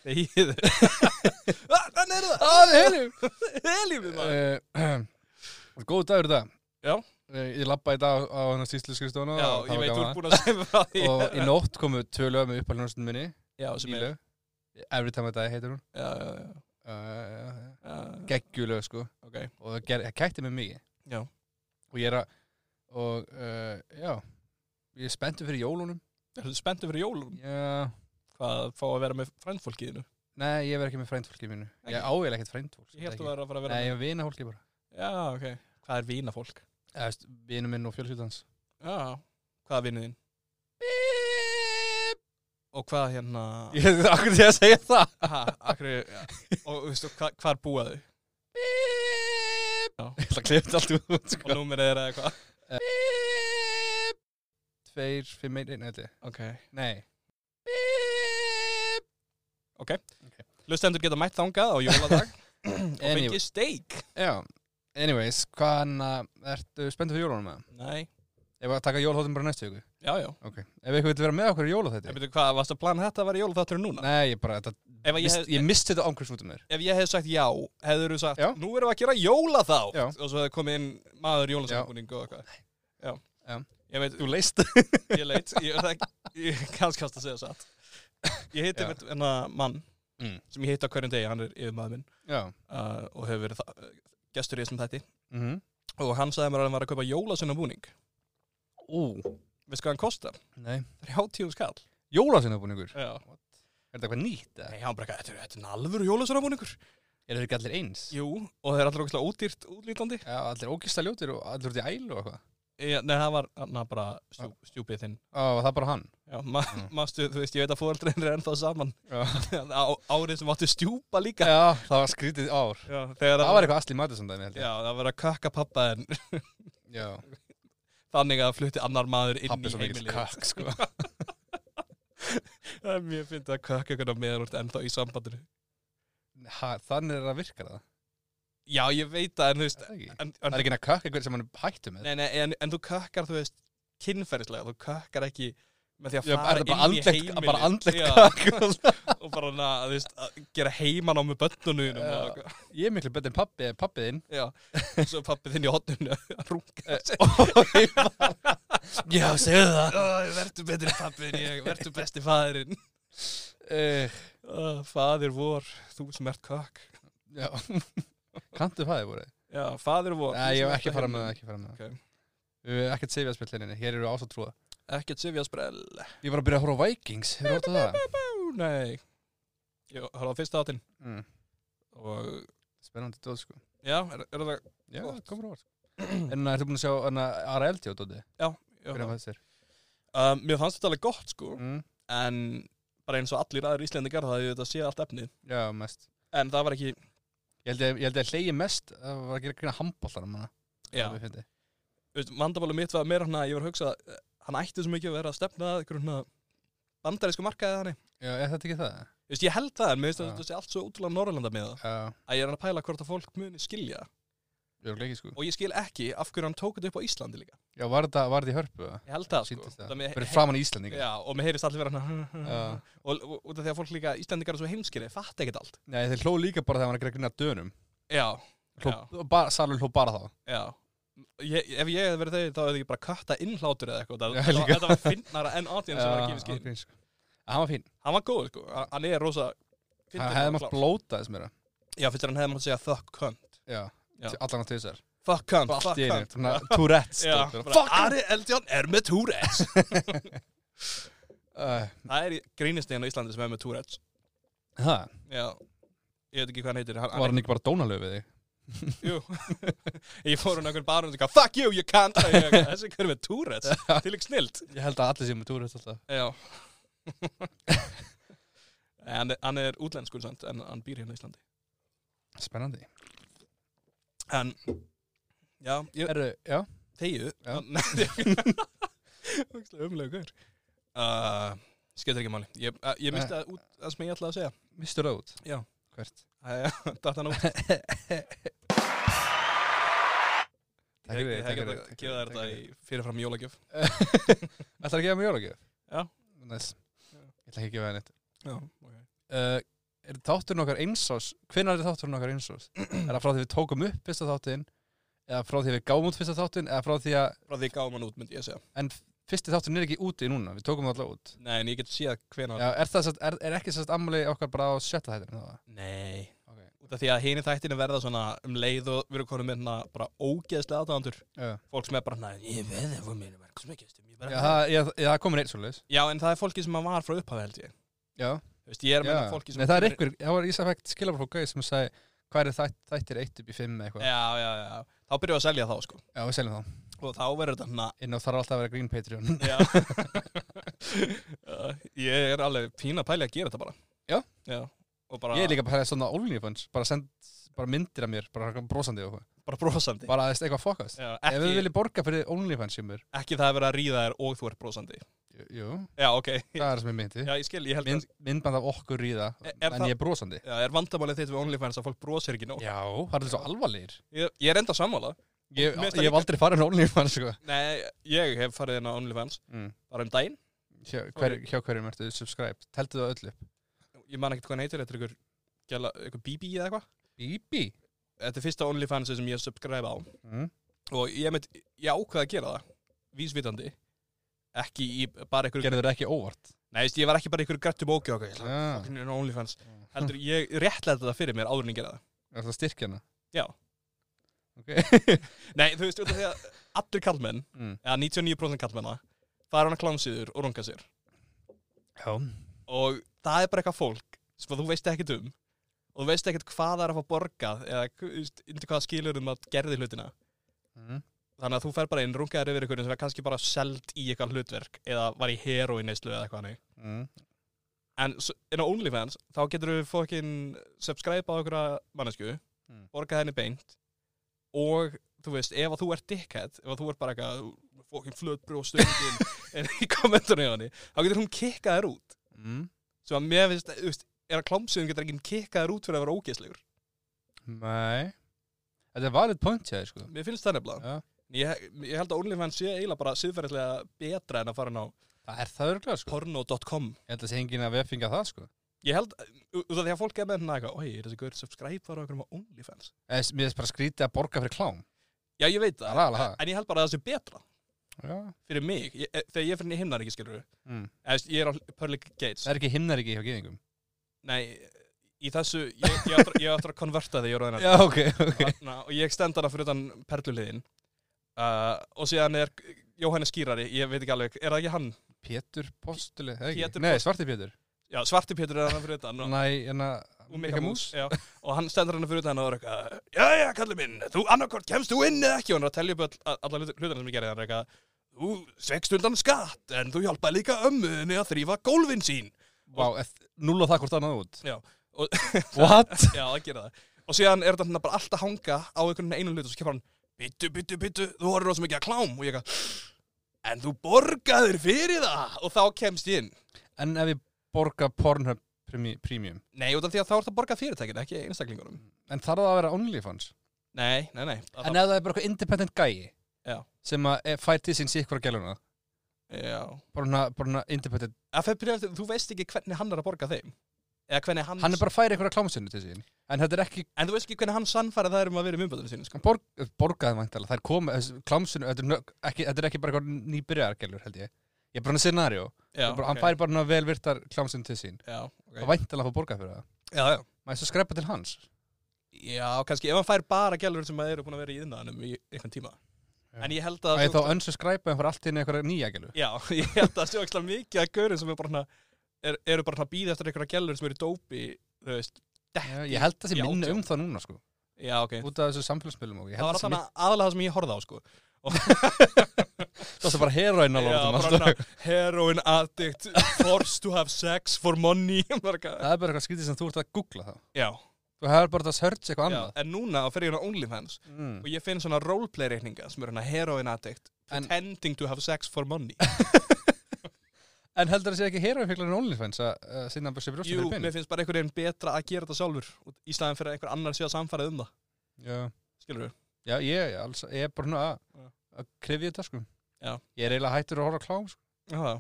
Speaker 1: deyð. ah, þannig er það.
Speaker 2: Ah, helium!
Speaker 1: Helium er maður.
Speaker 2: uh, Góð dagur í dag
Speaker 1: Já.
Speaker 2: Eh, Ég labba í dag á hennar sýslu skrifstofuna
Speaker 1: Já,
Speaker 2: og það
Speaker 1: ég
Speaker 2: var
Speaker 1: veit, þú
Speaker 2: gaman.
Speaker 1: ert búin að segja frá því.
Speaker 2: Og í nótt komu tvö lög með uppaljónastunum minni
Speaker 1: Já, sem er.
Speaker 2: Nýlög Every time I die heitir hún
Speaker 1: Já, já, já.
Speaker 2: uh,
Speaker 1: Já,
Speaker 2: Geggjulög sko
Speaker 1: ok.
Speaker 2: Og það ger- það kætti mig mikið
Speaker 1: Já.
Speaker 2: Og ég er að Og uh, já Ég er spenntur fyrir jólunum
Speaker 1: Ertu spenntu fyrir jólum?
Speaker 2: Já
Speaker 1: Hvað fá að vera með frændfólkiðinu?
Speaker 2: Nei, ég verð ekki með frændfólki mínu
Speaker 1: Ekki?
Speaker 2: Ég áeiginlega ekkert frændfólk
Speaker 1: Ég held að vera að fara að vera
Speaker 2: Nei,
Speaker 1: með.
Speaker 2: ég er vinahólki bara
Speaker 1: Já, ok. Hvað er vínafólk?
Speaker 2: Eða, veist, Vinu minn og fjölskyldans
Speaker 1: Já, hvað er vinnið þinn? Og hvað hérna
Speaker 2: Ég veit akkur því að segja það
Speaker 1: ha, akkur, Og þú veistu, hva, hvað er búaðu? Já.
Speaker 2: Ég ætla að klifta allt út sko.
Speaker 1: Og númerið er eða eitthvað
Speaker 2: Tveir, fimm, einn, einn, eitthvað
Speaker 1: Ok
Speaker 2: Nei
Speaker 1: Lustendur geta mætt þangað á jóladag Og
Speaker 2: Anyway.
Speaker 1: fengið steik
Speaker 2: Já Anyways, hvaðan uh, ertu spenntið fyrir jólunum með?
Speaker 1: Nei,
Speaker 2: Ef að taka jólhóttum bara næstu viku
Speaker 1: já, já
Speaker 2: Ok Ef eitthvað vil vera með okkur í jóla
Speaker 1: Ég
Speaker 2: þetta
Speaker 1: veit hvað, varst að plana þetta að vera jólaþátturinn núna?
Speaker 2: Nei, ég bara þetta
Speaker 1: Ef að ég
Speaker 2: mist,
Speaker 1: hef-
Speaker 2: Ég misti þetta ángriðs út um mér
Speaker 1: Ef ég hef sagt já, hefur þú sagt
Speaker 2: Já.
Speaker 1: Nú erum við að gera jólaþátt
Speaker 2: Já.
Speaker 1: Og svo hefði komið inn maður jólasamkuning og eitthvað Já,
Speaker 2: Já.
Speaker 1: Ég veit,
Speaker 2: Þú leist
Speaker 1: ég leit Ég, það, ég kannski kannski að segja satt Ég hitti
Speaker 2: Já.
Speaker 1: mitt enna mann
Speaker 2: Mm.
Speaker 1: sem ég hitti á hverjum degi, hann er yfir maður minn
Speaker 2: Já
Speaker 1: uh, og hefur verið þa- uh, gestur í þessum þætti
Speaker 2: mm -hmm.
Speaker 1: og hann sagði mér að hann var að kaupa jólasunna búning
Speaker 2: Ú
Speaker 1: veist hvað hann kostar?
Speaker 2: Nei
Speaker 1: 30 skall
Speaker 2: Jólasinabúningur
Speaker 1: Já.
Speaker 2: Er þetta eitthvað nýtt? eða?
Speaker 1: Nei, hann bara, eitthvað, þetta er, þetta er nalfur jólasunna búningur
Speaker 2: Er þetta ekki allir eins?
Speaker 1: Jú, og það er allir ógæslega ódýrt útlítandi
Speaker 2: Já, allir ógista ljótir og allir út í ælu og eitthvað
Speaker 1: e, Nei, það var na, bara stjú, stjúpið þinn
Speaker 2: Á, var það bara hann
Speaker 1: Já, ma
Speaker 2: Mm.
Speaker 1: mastu, þú veist, ég veit að fóreldrein er ennþá saman
Speaker 2: Já,
Speaker 1: á, árið sem áttu stjúpa líka
Speaker 2: Já það var skrítið ár
Speaker 1: Já, þegar
Speaker 2: Það var eitthvað Asli Madison dæmi held
Speaker 1: Já,
Speaker 2: ég
Speaker 1: það var að kökka pappa en
Speaker 2: Já
Speaker 1: þannig að flutti annar maður inn
Speaker 2: Pappi
Speaker 1: í
Speaker 2: svo mikill
Speaker 1: heimilið
Speaker 2: kakk sko
Speaker 1: Það er mjög fyndið að kökka eitthvað meðan þú ert ennþá í sambandinu
Speaker 2: ha, Þannig er það að virka það
Speaker 1: Já, ég veit það, en þú veist
Speaker 2: Það er ekki
Speaker 1: en,
Speaker 2: Það
Speaker 1: en,
Speaker 2: er ekki að kökk eitthvað sem hann hættu með
Speaker 1: nei, nei, en, en þú kökkar, þú veist, kynferðislega þú kökkar ekki með því að
Speaker 2: Já,
Speaker 1: fara
Speaker 2: er það bara
Speaker 1: inn í
Speaker 2: andlegt,
Speaker 1: heimilið
Speaker 2: bara andlegt
Speaker 1: Já,
Speaker 2: kakk
Speaker 1: og bara na, þú veist, að gera heiman á með bönnunum og,
Speaker 2: Já.
Speaker 1: eitthvað.
Speaker 2: Ég er miklu betur en pappi eða pappi þinn
Speaker 1: já, svo pappi þinn í hotninu að runga sig
Speaker 2: Já, segðu það
Speaker 1: verður betri pappi en ég, verður besti faðirinn
Speaker 2: uh,
Speaker 1: uh, faðir vor, þú sem ert kökk
Speaker 2: Já Kanntu fæði voru
Speaker 1: já, faðir vor
Speaker 2: Nei,
Speaker 1: þú
Speaker 2: ég
Speaker 1: sem
Speaker 2: hef
Speaker 1: ert
Speaker 2: ekki
Speaker 1: á
Speaker 2: fara
Speaker 1: heimilinu.
Speaker 2: með það, ekki fara með það
Speaker 1: Ok.
Speaker 2: Við hefum ekkert sefjað spilt henni, hér eru ás og trúa
Speaker 1: ekkert sifja sprell
Speaker 2: Ég var að byrja að horfa á Vikings, hefur þú hótt á það?
Speaker 1: Ú, nei ég horfði á fyrsta átinn
Speaker 2: Mm.
Speaker 1: og
Speaker 2: Spennandi dóð, sko
Speaker 1: já, er, er það
Speaker 2: Já,
Speaker 1: Gott.
Speaker 2: komur á orð En uh, ertu búin að sjá hérna, hana, Ara Eldjó, Dóti?
Speaker 1: já,
Speaker 2: Hvernig fannst þér?
Speaker 1: Um, mér fannst þetta alveg gott sko
Speaker 2: Mm.
Speaker 1: en bara eins og allir aðrir íslendingar það hefði þetta séð allt efnið
Speaker 2: Já, mest
Speaker 1: en það var ekki
Speaker 2: Ég held að, ég held að hlegi mest að var að gera grina handbóltar um hana
Speaker 1: já,
Speaker 2: Það var fyndið.
Speaker 1: vandabálu mitt var meira hann að ég var að hugsa að hann ætti svo mikið að vera að stefna að einhverjum svona bandarísku markaði þannig
Speaker 2: Já, er þetta ekki það?
Speaker 1: Þú veist, ég held það en mér finnst
Speaker 2: Já.
Speaker 1: að þetta sé allt svo útrúlega Norrlanda með það
Speaker 2: Já,
Speaker 1: að ég er að pæla hvort að fólk muni skilja
Speaker 2: ég er ekki sko.
Speaker 1: og ég skil ekki af hverju hann tók þetta upp á Íslandi líka
Speaker 2: Já, var þetta, var þetta í hörpu? eða?
Speaker 1: ég held það sko
Speaker 2: Sýndist
Speaker 1: Það
Speaker 2: það.
Speaker 1: með-
Speaker 2: Fyrir framan í Íslandinga?
Speaker 1: Já, og mér heyrist allir vera hann
Speaker 2: Já.
Speaker 1: og, og, og út af því að fólk líka, Íslandingar er svo heimskili fatt ekkert allt
Speaker 2: Nei, þeir hló líka bara þegar hann var að gera grunna dönum.
Speaker 1: Já,
Speaker 2: Hló,
Speaker 1: Já.
Speaker 2: og bara, salun hló bara þá.
Speaker 1: já ég, Ef ég hefði verið þeir, þá hefði ég bara kötta inn hlátur eða eitthvað
Speaker 2: Já,
Speaker 1: Það-
Speaker 2: líka.
Speaker 1: Þetta var finnara en audience sem var að gefa skil
Speaker 2: skil. sko. Hann var fín.
Speaker 1: Hann var góð, sko, Hann- hann er rosa fyndinn
Speaker 2: Hann hefði
Speaker 1: og
Speaker 2: maður
Speaker 1: klár.
Speaker 2: blóta þess meira.
Speaker 1: Já, fyrst er hann hefði maður að segja fuck cunt
Speaker 2: Já.
Speaker 1: Já.
Speaker 2: Allan á tvisar.
Speaker 1: Fuck cunt,
Speaker 2: Allt
Speaker 1: fuck
Speaker 2: í einu.
Speaker 1: cunt
Speaker 2: Svona Tourette's.
Speaker 1: Já,
Speaker 2: dót,
Speaker 1: bara,
Speaker 2: bara, Fuck!
Speaker 1: Ari Eldjón er með Tourette's
Speaker 2: Uh,
Speaker 1: Það er grínistegin á Íslandi sem er með Tourette's
Speaker 2: Það,
Speaker 1: Já, ég veit ekki hvað hann heitir hann,
Speaker 2: var hann ekki bara dónalög við þig?
Speaker 1: Jú, ég fór hann einhvern barun og það fuck you, you can't Og ég, Þessi hver með Tourette's, til ekki snilt
Speaker 2: Ég held að allir séu með Tourette's alltaf.
Speaker 1: Já Nei, hann, er- hann er útlenskur samt en hann býr hérna á Íslandi
Speaker 2: Spennandi.
Speaker 1: En, já, ég,
Speaker 2: Herru, já.
Speaker 1: þegju
Speaker 2: Já.
Speaker 1: Umlega hver uh, Skiptir ekki máli Ég, uh, ég misti það út það sem ég ætlaði að segja
Speaker 2: Mistur það út?
Speaker 1: Já.
Speaker 2: Hvert?
Speaker 1: Datt hann út Ég
Speaker 2: Takk fyrir,
Speaker 1: ég
Speaker 2: takk
Speaker 1: hefði
Speaker 2: fyrir,
Speaker 1: getað
Speaker 2: takk
Speaker 1: gefið
Speaker 2: fyrir,
Speaker 1: þér þetta
Speaker 2: takk
Speaker 1: í fyrirfram jólagjöf
Speaker 2: Ætlar að gefa mig jólagjöf?
Speaker 1: Já.
Speaker 2: Næs.
Speaker 1: Já.
Speaker 2: Ég ætla ekki að gefa henni þetta.
Speaker 1: Já, ok
Speaker 2: Uh, er þátturinn okkar einsás? Hvenær er þátturinn okkar einsás? er það frá því við tókum upp fyrsta þáttinn? Eða frá því við gáum út fyrsta þáttinn? Eða frá því að...
Speaker 1: Frá því ég gáum hann út, myndi ég segja
Speaker 2: En fyrsti þátturinn er ekki úti núna, við tókum það alltaf út.
Speaker 1: Nei, en ég get séð hvenær
Speaker 2: Já, er, það, satt- er, er ekki sérst ammali okkar bara á sjötta þættinum? þá?
Speaker 1: Nei
Speaker 2: Ok.
Speaker 1: Út af því að hini þættinu verða svona um leið og við erum konum með hérna bara ógeðslega aðdáðandur.
Speaker 2: Já.
Speaker 1: Fólk sem er bara, næ, ég veði fór mér, mér, hvað sem ekki, ég
Speaker 2: Já,
Speaker 1: bara...
Speaker 2: það, ég, ég, það komur eitt svolítið.
Speaker 1: Já, en það er fólki sem að var frá upphafi, held ég.
Speaker 2: Já.
Speaker 1: Þú veist, ég er að meina
Speaker 2: Já.
Speaker 1: fólki sem...
Speaker 2: Nei, það er ykkur, það var Ísafækt skilabrók gauð sem sagði hvað er þætt, þættir 1 upp í 5 eða eitthvað.
Speaker 1: Já, já, já. Þá byrjuðu að selja þá, sko.
Speaker 2: Já, við seljum þá.
Speaker 1: Og þá verður þetta, na,
Speaker 2: Inn á þarf alltaf að vera Green Patreon.
Speaker 1: já. Uh, ég er alveg pína pæli að gera þetta bara.
Speaker 2: Já.
Speaker 1: Já. Og bara,
Speaker 2: Ég er líka bara svona OnlyFans, bara send bara myndir af mér, bara eitthvað brosandi og eitthvað.
Speaker 1: bara brosandi.
Speaker 2: Bara aðeins eitthvað fokast.
Speaker 1: Já,
Speaker 2: Ef við
Speaker 1: ekki,
Speaker 2: viljum borga fyrir OnlyFans hjá mér,
Speaker 1: ekki það að vera að ríða þér og þú ert brosandi.
Speaker 2: jú, jú,
Speaker 1: Já, ok.
Speaker 2: það er það sem ég myndi.
Speaker 1: Já, ég skil, ég held
Speaker 2: Mynd, myndband af okkur í það,
Speaker 1: Er- er
Speaker 2: en
Speaker 1: það-
Speaker 2: ég er brosandi.
Speaker 1: að... Já, er vandamálið þitt við OnlyFans að fólk brosir ekki nóg?
Speaker 2: Já, það er alveg svo alvarlegir.
Speaker 1: Ég, ég er enda sammála.
Speaker 2: Ég,
Speaker 1: Mér finnst
Speaker 2: ég
Speaker 1: það
Speaker 2: hef
Speaker 1: líka-
Speaker 2: aldrei farið á OnlyFans, sko.
Speaker 1: Nei, ég hef farið inn á OnlyFans
Speaker 2: Mm.
Speaker 1: bara um daginn,
Speaker 2: Hjá, hver, hjá hverjum ertu subscribed? Teltu það öllu?
Speaker 1: ég man ekkert hvað hann heitir, þetta er ykkur, gæla, ykkur BB E eða eitthvað
Speaker 2: Bíbí?
Speaker 1: Þetta er fyrsta OnlyFans sem ég subscribe á
Speaker 2: Mm.
Speaker 1: og ég, meitt, ég ákvaði að gera það vísvitandi ekki í bara ykkur,
Speaker 2: Gerður það ekki óvart?
Speaker 1: nei veist, ég var ekki bara ykkur grættu bóki okkar, ég ætla
Speaker 2: Já.
Speaker 1: að finna inn á OnlyFans
Speaker 2: Já.
Speaker 1: heldur, ég réttlæði þetta fyrir mér áður en ég gera það
Speaker 2: Er það hérna? styrkjana?
Speaker 1: Já.
Speaker 2: Ok.
Speaker 1: Nei, þú veist, út af því að allir kallmenn,
Speaker 2: mm.
Speaker 1: eða 99% kallmenna fara hann að klámsýður og runga sér
Speaker 2: Já.
Speaker 1: og það er bara eitthvað fólk sem að þú veist ekkert um og þú veist ekkert hvað það er að fá borgað eða þú veist, undir hvaða skilur um að gerði hlutina
Speaker 2: Mm.
Speaker 1: þannig að þú fer bara inn rungaður yfir ykkur sem er kannski bara seld í eitthvað hlutverk eða var í heroinneislu eða eitthvað hannig
Speaker 2: Mm.
Speaker 1: en s- inn á OnlyFans þá getur við fókin subscribe á ykkur mannesku
Speaker 2: Mm.
Speaker 1: borgað henni beint og þú veist, ef að þú ert dickhead ef að þú ert bara eitthvað fókin flötbrjóðstöngin en í kommentunni á henni þá getur hún kikkað þér út
Speaker 2: Mm.
Speaker 1: sem að mér finnst, þú veist, er að klámsuðum getur ekki kikkaður út fyrir að vera ógeðslegur
Speaker 2: Nei. Þetta er valið point hjá þér, sko.
Speaker 1: mér finnst það nefnilega
Speaker 2: Já.
Speaker 1: ég, ég held að OnlyFans sé eiginlega bara siðferðislega betra en að fara inn á
Speaker 2: Það er það örglega, sko.
Speaker 1: porno.com
Speaker 2: Ég held að sé enginn að veffinga það, sko.
Speaker 1: ég held, ú- út af því að fólk er með hérna eitthvað oi, er þessi gaur subscribe-var á okkur um OnlyFans
Speaker 2: Eða, Eh, s- mér finnst bara skrítið að borga fyrir klám.
Speaker 1: já, ég veit
Speaker 2: Það er
Speaker 1: það,
Speaker 2: alveg það.
Speaker 1: en ég held bara að það sé betra
Speaker 2: Já.
Speaker 1: fyrir mig, ég, e- þegar ég fyrir henni himnar ekki skilur
Speaker 2: Mm.
Speaker 1: ég er á Pearly Gates
Speaker 2: Það er ekki himnar ekki hjá geðingum.
Speaker 1: nei, í þessu, ég, ég, aftur, ég aftur að konverta þegar ég er á hennar
Speaker 2: Já, ok, ok.
Speaker 1: Þarna, og ég stend hana fyrir utan perluliðin uh, og síðan er Jóhannes Skýrari, ég veit ekki alveg, er það ekki hann?
Speaker 2: Pétur Postuli, eða ekki?
Speaker 1: Pétur
Speaker 2: Nei,
Speaker 1: Post-
Speaker 2: svarti Pétur.
Speaker 1: Já, Svarti Pétur er hann fyrir utan og,
Speaker 2: Næ, hérna, en
Speaker 1: og
Speaker 2: að
Speaker 1: Mika Mús já, og hann stendur hann fyrir utan og er eitthvað Já, já, kallið minn, þú annarkort kemst þú inn eða ekki og hann er að telja upp all, alla hlut- hlutina sem ég gerði hann er eitthvað Þú svegst undan skatt en þú hjálpaði líka ömmuðinni að þrýfa gólfin sín
Speaker 2: Vá, eth- núlla það hvort annað út.
Speaker 1: Já, og-
Speaker 2: What?
Speaker 1: Já, það gerir það Og síðan er þetta hann bara alltaf hanga á einhvern einu hlutu og svo kemur hann bittu, bittu, bittu, þú horfir rosa mikið að klám og ég eitthvað, en þú borgaðir fyrir það og þá kemst ég inn
Speaker 2: En ef ég borga Pornhub premi- Premium
Speaker 1: Nei, út af því að þá ert að borga fyrirtækinu, ekki einstaklingunum
Speaker 2: En þarf það að vera OnlyFans
Speaker 1: Nei, nei, nei að það,
Speaker 2: En ef það er bara eitthvað independent gæi
Speaker 1: Já.
Speaker 2: Sem að eh, fær til sín sikkur að gæluna
Speaker 1: Já
Speaker 2: Bara svona, bara svona independent
Speaker 1: Að fyrir prioritet, Þú veist ekki hvernig hann er að borga þeim Eða hvernig hann,
Speaker 2: Hann er bara að færa eitthvað klámsynnu til sín En þetta er ekki
Speaker 1: En þú veist ekki hvernig hann sannfæra það er um að vera í umbjöldunum sínu sko.
Speaker 2: hann borg, eh, borgaði vantala Það er komið Klámsynnu, þetta, er nö- ekki- þetta er ekki bara eitthvað nýbyrjargælur held ég Ég er bara hann scenario
Speaker 1: Já,
Speaker 2: bara, Hann fær bara svona velvirtar klámsynnu til sín
Speaker 1: Já,
Speaker 2: Það
Speaker 1: okay.
Speaker 2: væntalega að fá borgað fyrir það
Speaker 1: já, já
Speaker 2: Maður er svo skrepa til hans
Speaker 1: Já, kannski ef hann fær bara gælur sem að eru búin að vera í innanum í einhvern tíma
Speaker 2: Já.
Speaker 1: En ég held að
Speaker 2: Það er þá unsubscribe en fara allt inn í eitthvað nýja gælu
Speaker 1: Já, ég held að sé ógæslega mikið að gaurin sem er bara hana, er, eru bara hana býð eftir einhverja gælur sem eru í dópi, þú veist
Speaker 2: Ég held að það sé
Speaker 1: Já,
Speaker 2: minna
Speaker 1: já.
Speaker 2: um það núna sko
Speaker 1: Já, ok
Speaker 2: Út af þessu samfélagsmiðlum og ég
Speaker 1: Það
Speaker 2: held
Speaker 1: var
Speaker 2: að það sé
Speaker 1: alltaf aðalega það sem ég horfði á, sko
Speaker 2: mikið Það er bara heroin
Speaker 1: Já,
Speaker 2: að láta
Speaker 1: bara
Speaker 2: alltaf
Speaker 1: hana, heroin addict, forced to have sex for money bara eitthvað.
Speaker 2: Það er bara eitthvað skýtið sem þú ert að googla það.
Speaker 1: Já,
Speaker 2: Þú hefur bara það að search eitthvað
Speaker 1: já,
Speaker 2: annað.
Speaker 1: en núna þá fer ég hana OnlyFans og
Speaker 2: Mm.
Speaker 1: ég finn svona roleplay reikninga sem eru hana heroin addict
Speaker 2: En-
Speaker 1: pretending to have sex for money
Speaker 2: En heldur það sé ekki heroinfíklarinn OnlyFans að uh, sinna bara sér brjóstum
Speaker 1: Jú,
Speaker 2: fyrir
Speaker 1: mér
Speaker 2: pening?
Speaker 1: finnst bara einhvern veginn betra að gera þetta sjálfur í staðan fyrir að einhver annar sé að samfæra um það
Speaker 2: Já,
Speaker 1: Skilur við?
Speaker 2: já ég, ég, alls, ég er bara svona
Speaker 1: Já.
Speaker 2: að- að krefja þetta sko.
Speaker 1: Já.
Speaker 2: Ég er eiginlega hættur að horfa á klám sko.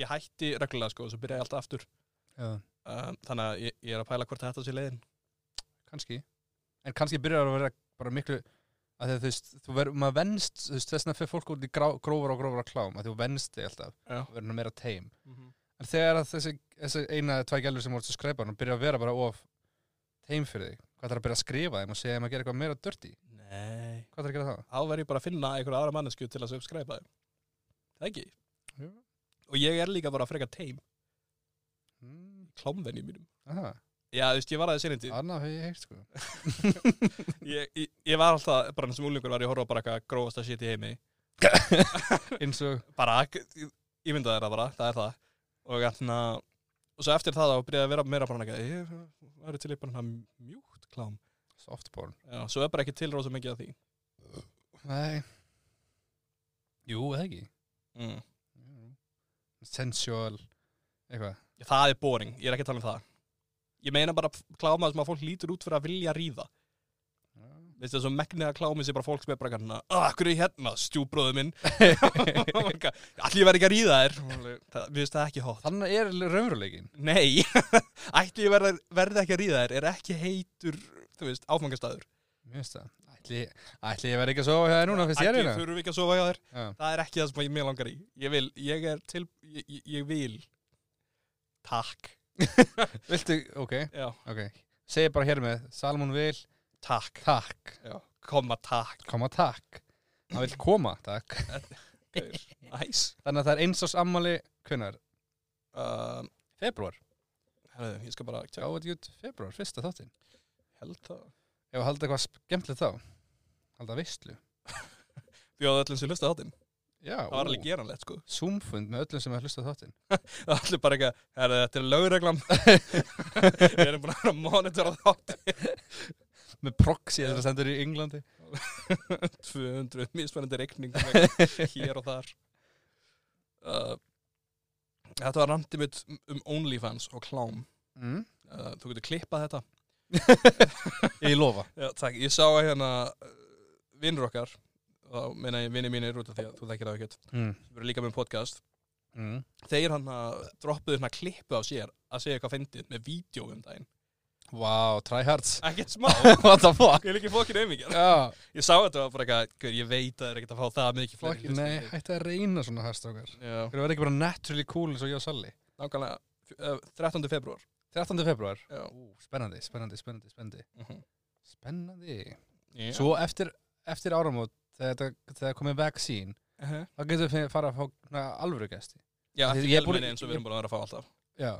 Speaker 1: Ég hætti reglulega sko og svo byrja ég alltaf aftur
Speaker 2: Já,
Speaker 1: um, Þannig að ég, ég er að pæla hvort þetta sé leiðin
Speaker 2: kannski. En kannski byrjar að vera bara miklu að því að þú veist, þú verður, maður venst, þú veist, þess vegna fyrir fólk út í grá, grófar og grófar á klám að þú venst þig alltaf,
Speaker 1: Já.
Speaker 2: þú verður nú meira teim. En þegar að þessi, þessi eina eða tvæ gælur sem voru að skræpa hann byrja að vera bara of teim fyrir þig, hvað þarf að byrja að skrifa þeim og segja þeim að gera eitthvað meira dörti?
Speaker 1: Nei
Speaker 2: Hvað þarf að gera það?
Speaker 1: Þá verð ég bara að finna einhverja aðra mannesku til að subscribe þeim Það ekki
Speaker 2: Jú.
Speaker 1: Og ég er líka bara frekar teim
Speaker 2: Mm,
Speaker 1: Klámvenni mínum
Speaker 2: aha,
Speaker 1: Já, þú veist, ég var aðeins einandi
Speaker 2: annað hef ég heyrt sko.
Speaker 1: ég, ég, ég var alltaf, bara eins og múlingur var ég að horfa á bara eitthvað grófasta shit í heimi
Speaker 2: Eins og,
Speaker 1: bara, ég ég myndi að það bara, það er það og hérna og svo eftir það þá byrjaði að vera meira bara eitthvað, ég væri til í bara hann mjúkt klám
Speaker 2: softporn.
Speaker 1: já, svo er bara ekki til rosa mikið af því
Speaker 2: Nei. Jú, eða ekki.
Speaker 1: mm.
Speaker 2: Jú. Sensual, eitthvað.
Speaker 1: það er boring, ég er ekki að tala um það ég meina bara kláma sem að fólk lítur út fyrir að vilja ríða Veistu þessu megniða klámi sem bara fólk sem er bara hérna, akkur er ég hérna, stjúbróðu minn Allir verði ekki að ríða þér Það- Mér finnst það ekki hótt
Speaker 2: Þannig er raunveruleikin.
Speaker 1: Nei, ætli ég verði, verði ekki að ríða þér er ekki heitur, þú veist, áfangastæður
Speaker 2: Mér finnst það. Ætli, ætli ég verð ekki að sofa hjá þér núna fyrst ég er
Speaker 1: Ætli
Speaker 2: hérna.
Speaker 1: þurfum ekki að sofa hjá þér
Speaker 2: Já.
Speaker 1: Það er ekki það sem ég mig langar í Ég vil, ég er til, ég, ég- ég vil Takk
Speaker 2: Viltu, ok,
Speaker 1: Já,
Speaker 2: ok. Segir bara hér með, Salmon vil,
Speaker 1: takk
Speaker 2: takk,
Speaker 1: Já. Komma takk
Speaker 2: koma takk. Hann vil koma, takk.
Speaker 1: Gaur. Næs
Speaker 2: Þannig að það er eins og sammali, hvenar?
Speaker 1: um,
Speaker 2: Februar.
Speaker 1: herðu, Ég skal bara tjá,
Speaker 2: Gáði út februar, fyrsta þáttinn.
Speaker 1: held það
Speaker 2: Ef að halda eitthvað skemmtilegt þá, halda veistlu.
Speaker 1: Bjóðu öllum sem hlusta þáttinn
Speaker 2: Já,
Speaker 1: Það var alveg geranlegt sko
Speaker 2: Zoom-fund með öllum sem er hlustað á þáttinn.
Speaker 1: Það var allir bara eitthvað, herðu, þetta er lögreglam Við erum bara að monitora þáttinn
Speaker 2: Með proxy sem það sendur í Englandi.
Speaker 1: 200 mismunandi reikning hér og þar uh, Þetta var randið mitt um OnlyFans og klám
Speaker 2: Mm.
Speaker 1: uh, Þú getur klippað þetta
Speaker 2: Ég lofa.
Speaker 1: Já, takk. Ég sá að hérna vinnur okkar, þá meina ég vinnir mínir út af því að þú þekkir það ekkert,
Speaker 2: Mm.
Speaker 1: sem eru líka með podcast,
Speaker 2: Mm.
Speaker 1: þeir hann að droppuðu hérna klippu á sér að segja eitthvað fyndið með vídeo um daginn.
Speaker 2: Wow, tryhards.
Speaker 1: Ekkert smá.
Speaker 2: What the fuck?
Speaker 1: Ég er ekki fokkin auðvitað.
Speaker 2: Já,
Speaker 1: Ég sá þetta og var bara eitthvað, "Gaur, ég veit að það er ekkert að fá það mikið fleiri
Speaker 2: fokkin, nei, hætti að reyna svona hæstókar.
Speaker 1: Já,
Speaker 2: Hverju verði ekki bara naturally cool eins og ég og Salli?
Speaker 1: nákvæmlega. F- eh, 13. februar.
Speaker 2: 13. februar.
Speaker 1: Já.
Speaker 2: Ú, spennandi, spennandi, spennandi, spennandi.
Speaker 1: Mhm.
Speaker 2: Spennandi.
Speaker 1: Já.
Speaker 2: Svo eftir, eftir áramót, þegar þetta- þegar það komið vaccine,
Speaker 1: Mhm.
Speaker 2: þá getum við fengið- fara að fá na, alvöru gesti.
Speaker 1: Já,
Speaker 2: Ég-
Speaker 1: ekki
Speaker 2: ég er búin-
Speaker 1: fjölminni eins og við erum búin að vera að fá alltaf.
Speaker 2: Já.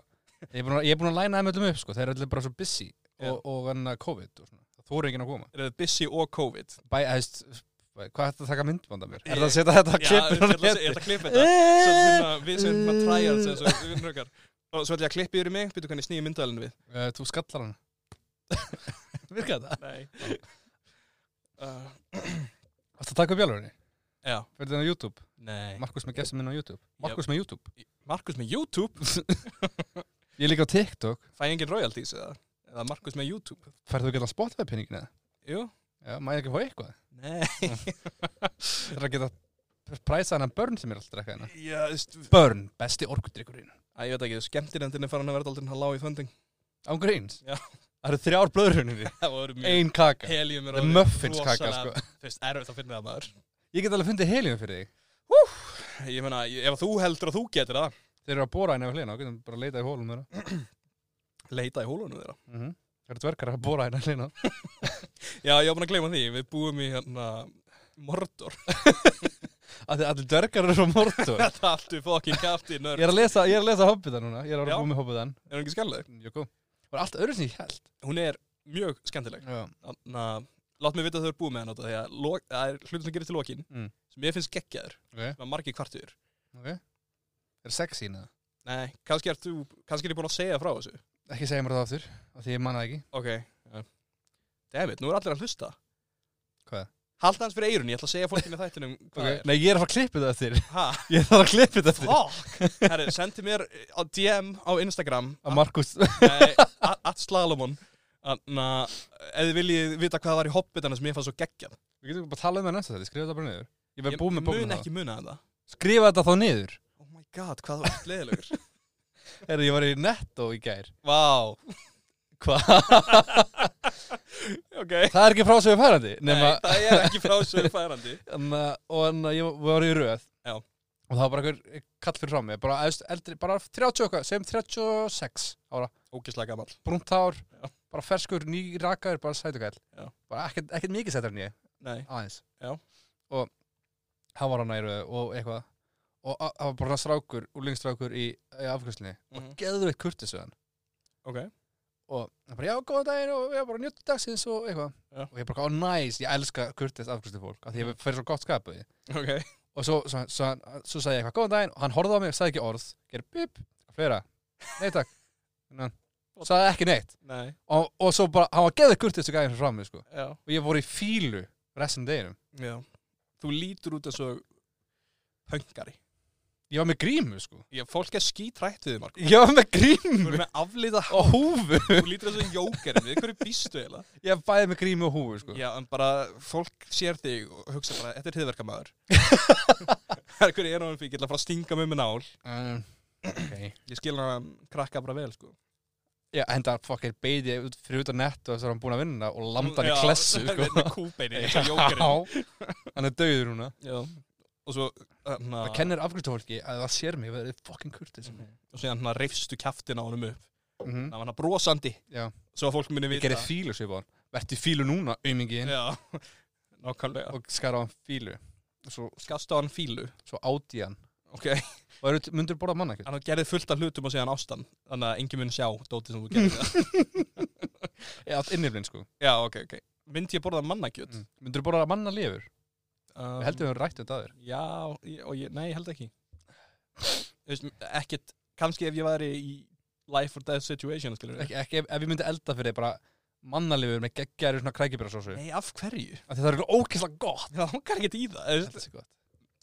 Speaker 2: Ég er búin að, ég er búin að læna þeim öllum upp, sko. Þeir eru allir bara svo busy
Speaker 1: Já.
Speaker 2: og, og enna COVID og svona. Þú eru enginn að koma.
Speaker 1: Eru þið busy og COVID?
Speaker 2: bæ, hefst, hvað ætti að taka myndband af mér? Er
Speaker 1: Ég-
Speaker 2: það að setja þetta
Speaker 1: Já, ég
Speaker 2: klippin á
Speaker 1: ætla að se- ég
Speaker 2: neti?
Speaker 1: ætla að klippa þetta. Svo er
Speaker 2: Eh!
Speaker 1: þetta svona, við sem svona træjar þessu vinnur okkar og svo ætla ég að klippa yfir í mig, byrju hvernig snýja myndavælinu við
Speaker 2: Eh, Þú skallar hann. Virka þetta?
Speaker 1: Nei
Speaker 2: Varstu að taka upp jálfurinni?
Speaker 1: Uh, Já,
Speaker 2: Fyrir þetta á YouTube?
Speaker 1: nei
Speaker 2: Markus með gestum minn á YouTube? Markus með YouTube?
Speaker 1: Markus með YouTube?
Speaker 2: Ég er líka á TikTok.
Speaker 1: Fæ engin royalties eða? Eða Markus með YouTube?
Speaker 2: Færðu ekki allan Spotify peningin eða?
Speaker 1: Jú?
Speaker 2: Já, maður ekki að fá eitthvað.
Speaker 1: Nei
Speaker 2: Það er að geta præsa hana börn sem er alltaf drekka hana.
Speaker 1: Já, þú veist
Speaker 2: Börn, besti orkudrykkurinn.
Speaker 1: Æ, ég veit ekki, skemmtirendin er farin að verða aldrei hann lág í funding
Speaker 2: Án gríns?
Speaker 1: Já.
Speaker 2: Það eru þrjár blöðrunni.
Speaker 1: Það voru mjög
Speaker 2: Ein kaka.
Speaker 1: Helium er
Speaker 2: Það er muffins kaka, sko.
Speaker 1: Þú veist, erfitt að finna það maður
Speaker 2: Ég get alveg fundið helium fyrir þig.
Speaker 1: Ég meina, ég- ef þú heldur að þú getur það
Speaker 2: Þeir eru að bóra hérna við hlina og getum bara að leita í hólum þeirra.
Speaker 1: Leita í hólunum þeirra
Speaker 2: Mm Það eru dvergar að bóra hérna hlina.
Speaker 1: Já, ég var búin að gleyma því, við búum í hérna Mordor
Speaker 2: Allir dvergar eru á mortu.
Speaker 1: Þetta allt við fokkin kafti nörd
Speaker 2: Ég er að lesa, ég er að lesa Hobbitan núna. Ég er
Speaker 1: Já.
Speaker 2: að vera búið með Hobbitan.
Speaker 1: Er hún ekki skelleg?
Speaker 2: Jökú. Það er allt öðru sem ég held.
Speaker 1: Hún er mjög skemmtileg
Speaker 2: Já.
Speaker 1: Þannig að Látt mig vita að þau eru búið með hann á þetta Því að lo- það er hlutin sem gerir til lokin
Speaker 2: Mm.
Speaker 1: Sem ég finnst geggjaður
Speaker 2: Ok.
Speaker 1: Sem að margir kvartur
Speaker 2: Ok. Er sexy hérna? neða?
Speaker 1: Nei, kannski er þú Kannski er ég búin að segja frá þessu
Speaker 2: Ekki segja mér það aftur, af því ég manna það ekki.
Speaker 1: Ok Dammit, nú er allir að hlusta
Speaker 2: Hvað?
Speaker 1: Halda hans fyrir eirun, ég ætla að segja fólkinu í þættinum hvað
Speaker 2: Nei, ég er að fara að klippa þetta aftur.
Speaker 1: er Ha?
Speaker 2: Ég þarf að klippa þetta aftur.
Speaker 1: Fuck Herri, sendi mér eh, á DM á Instagram
Speaker 2: Að Markus...
Speaker 1: Nei, a- at Slalomon Þannig að ef þið viljið vita hvað var í hobbitana sem ég fann svo geggjað
Speaker 2: Við getum bara að tala um það næsta þetta, skrifa þetta bara niður. Ég verð búið
Speaker 1: Ég
Speaker 2: með
Speaker 1: mun
Speaker 2: bókinu þá.
Speaker 1: ekki muna þetta
Speaker 2: Skrifa þetta þá niður.
Speaker 1: Oh my god, hvað var allt leðilegur
Speaker 2: Herri, ég var í netto í gær.
Speaker 1: Vá
Speaker 2: Hva?
Speaker 1: Ok
Speaker 2: Það er ekki frá sem við færandi. Nema,
Speaker 1: Nei, það er ekki frá sögur færandi
Speaker 2: anna, og anna, ég var í röð.
Speaker 1: Já.
Speaker 2: Og það var bara einhver kall fyrir frá mig. Bara, efst- eldri, bara 30 okkar, segjum 36 ára.
Speaker 1: Ógislega gammal
Speaker 2: Brúnt hár,
Speaker 1: Já.
Speaker 2: bara ferskur, ný rakaður, bara sætugall.
Speaker 1: Já.
Speaker 2: Bara ekkert, ekkert mikið sættar en ég.
Speaker 1: Nei
Speaker 2: aðeins
Speaker 1: Já.
Speaker 2: og hann var hann næru og eitthvað og a- það var bara strákur, úlingstrákur í, í afgjörslinni
Speaker 1: Mhm.
Speaker 2: og geður eitt kurtis við hann
Speaker 1: Ok
Speaker 2: og hann bara já, góðan daginn og ég bara njóttu dagsins og eitthvað
Speaker 1: Já. Mm.
Speaker 2: og ég bara, ó næs, ég elska kurtis afgjörsli fólk af því ég fyrir svo gott skapu því
Speaker 1: Ok
Speaker 2: og svo, svo, svo, svo, svo sagði ég eitthvað, góðan daginn og hann horfði á mig, sagði ekki orð, gerði bíp fleira, nei takk Ná, sagði ekki neitt
Speaker 1: Nei
Speaker 2: og, og svo bara, hann var geður kurtis og gæði hann fram mig sko.
Speaker 1: Já
Speaker 2: og ég voru í fílu restin deginum
Speaker 1: Já Þú lítur út þessu Höngari
Speaker 2: ég var með grímu sko
Speaker 1: Ég, fólk er skítrætt við þig, Marko.
Speaker 2: Ég var með
Speaker 1: Þú
Speaker 2: grímu
Speaker 1: er með aflita
Speaker 2: og húfu.
Speaker 1: Þú lítur þessu jókerinn við hverju býstu eiginlega
Speaker 2: Ég var bæði með grímu og húfu, sko.
Speaker 1: Já, en bara fólk sér þig og hugsa bara, þetta er hriðverkamaður Það er hverju ég er náðum fyrir, ég ætla að fara að stinga mig með nál
Speaker 2: Um, ok.
Speaker 1: Ég skil hann krakka bara vel, sko
Speaker 2: Já, enda fokkir beiti ég út- fyrir út á nett og þess að hann búin að vinna og landa hann í klessu, sko.
Speaker 1: Með kúbeini, eins og jókerinn
Speaker 2: Já, hann er döður núna.
Speaker 1: Já, og svo hérna, hann
Speaker 2: Það kennir afgjörstofólki að það sér mig verið fokkin kurtis.
Speaker 1: Og svo hann reyfstu kjaftin á honum upp
Speaker 2: Mhm.
Speaker 1: Það var hann brosandi
Speaker 2: Já.
Speaker 1: Svo að fólk minni
Speaker 2: Ég
Speaker 1: Mm. vita
Speaker 2: gerði fílu, svo ég búin. Vertu fílu núna, aumingiðin,
Speaker 1: Já, nákvæmlega
Speaker 2: og skar á hann fílu. Og Svo,
Speaker 1: Skast á hann fílu
Speaker 2: svo áti hann.
Speaker 1: Ok,
Speaker 2: Og eru, myndur borða manna ekkert?
Speaker 1: hann gerði fullt af hlutum og segja hann ástan Þannig að engin mun sjá, dótið sem þú gerði það
Speaker 2: Já, allt inniflinn, sko.
Speaker 1: Já, ok, ok Myndi ég borða mannakjöt?
Speaker 2: Mm. Myndur borða manna lifur?
Speaker 1: Um,
Speaker 2: Við heldum við höfum rætt um þetta aður.
Speaker 1: Já, ég- og ég, nei, ég held ekki Þú veist, ekkert kannski ef ég væri í life or death situation, skilur
Speaker 2: ekki, ekki, ef, ef ég myndi elda fyrir þig bara mannalifur með geggjæri svona krækibjörnsósu
Speaker 1: Nei, af hverju?
Speaker 2: af því það er eitthvað ókesslega gott
Speaker 1: Það hongar ekkert í það
Speaker 2: Þetta
Speaker 1: eða,
Speaker 2: er svo gott.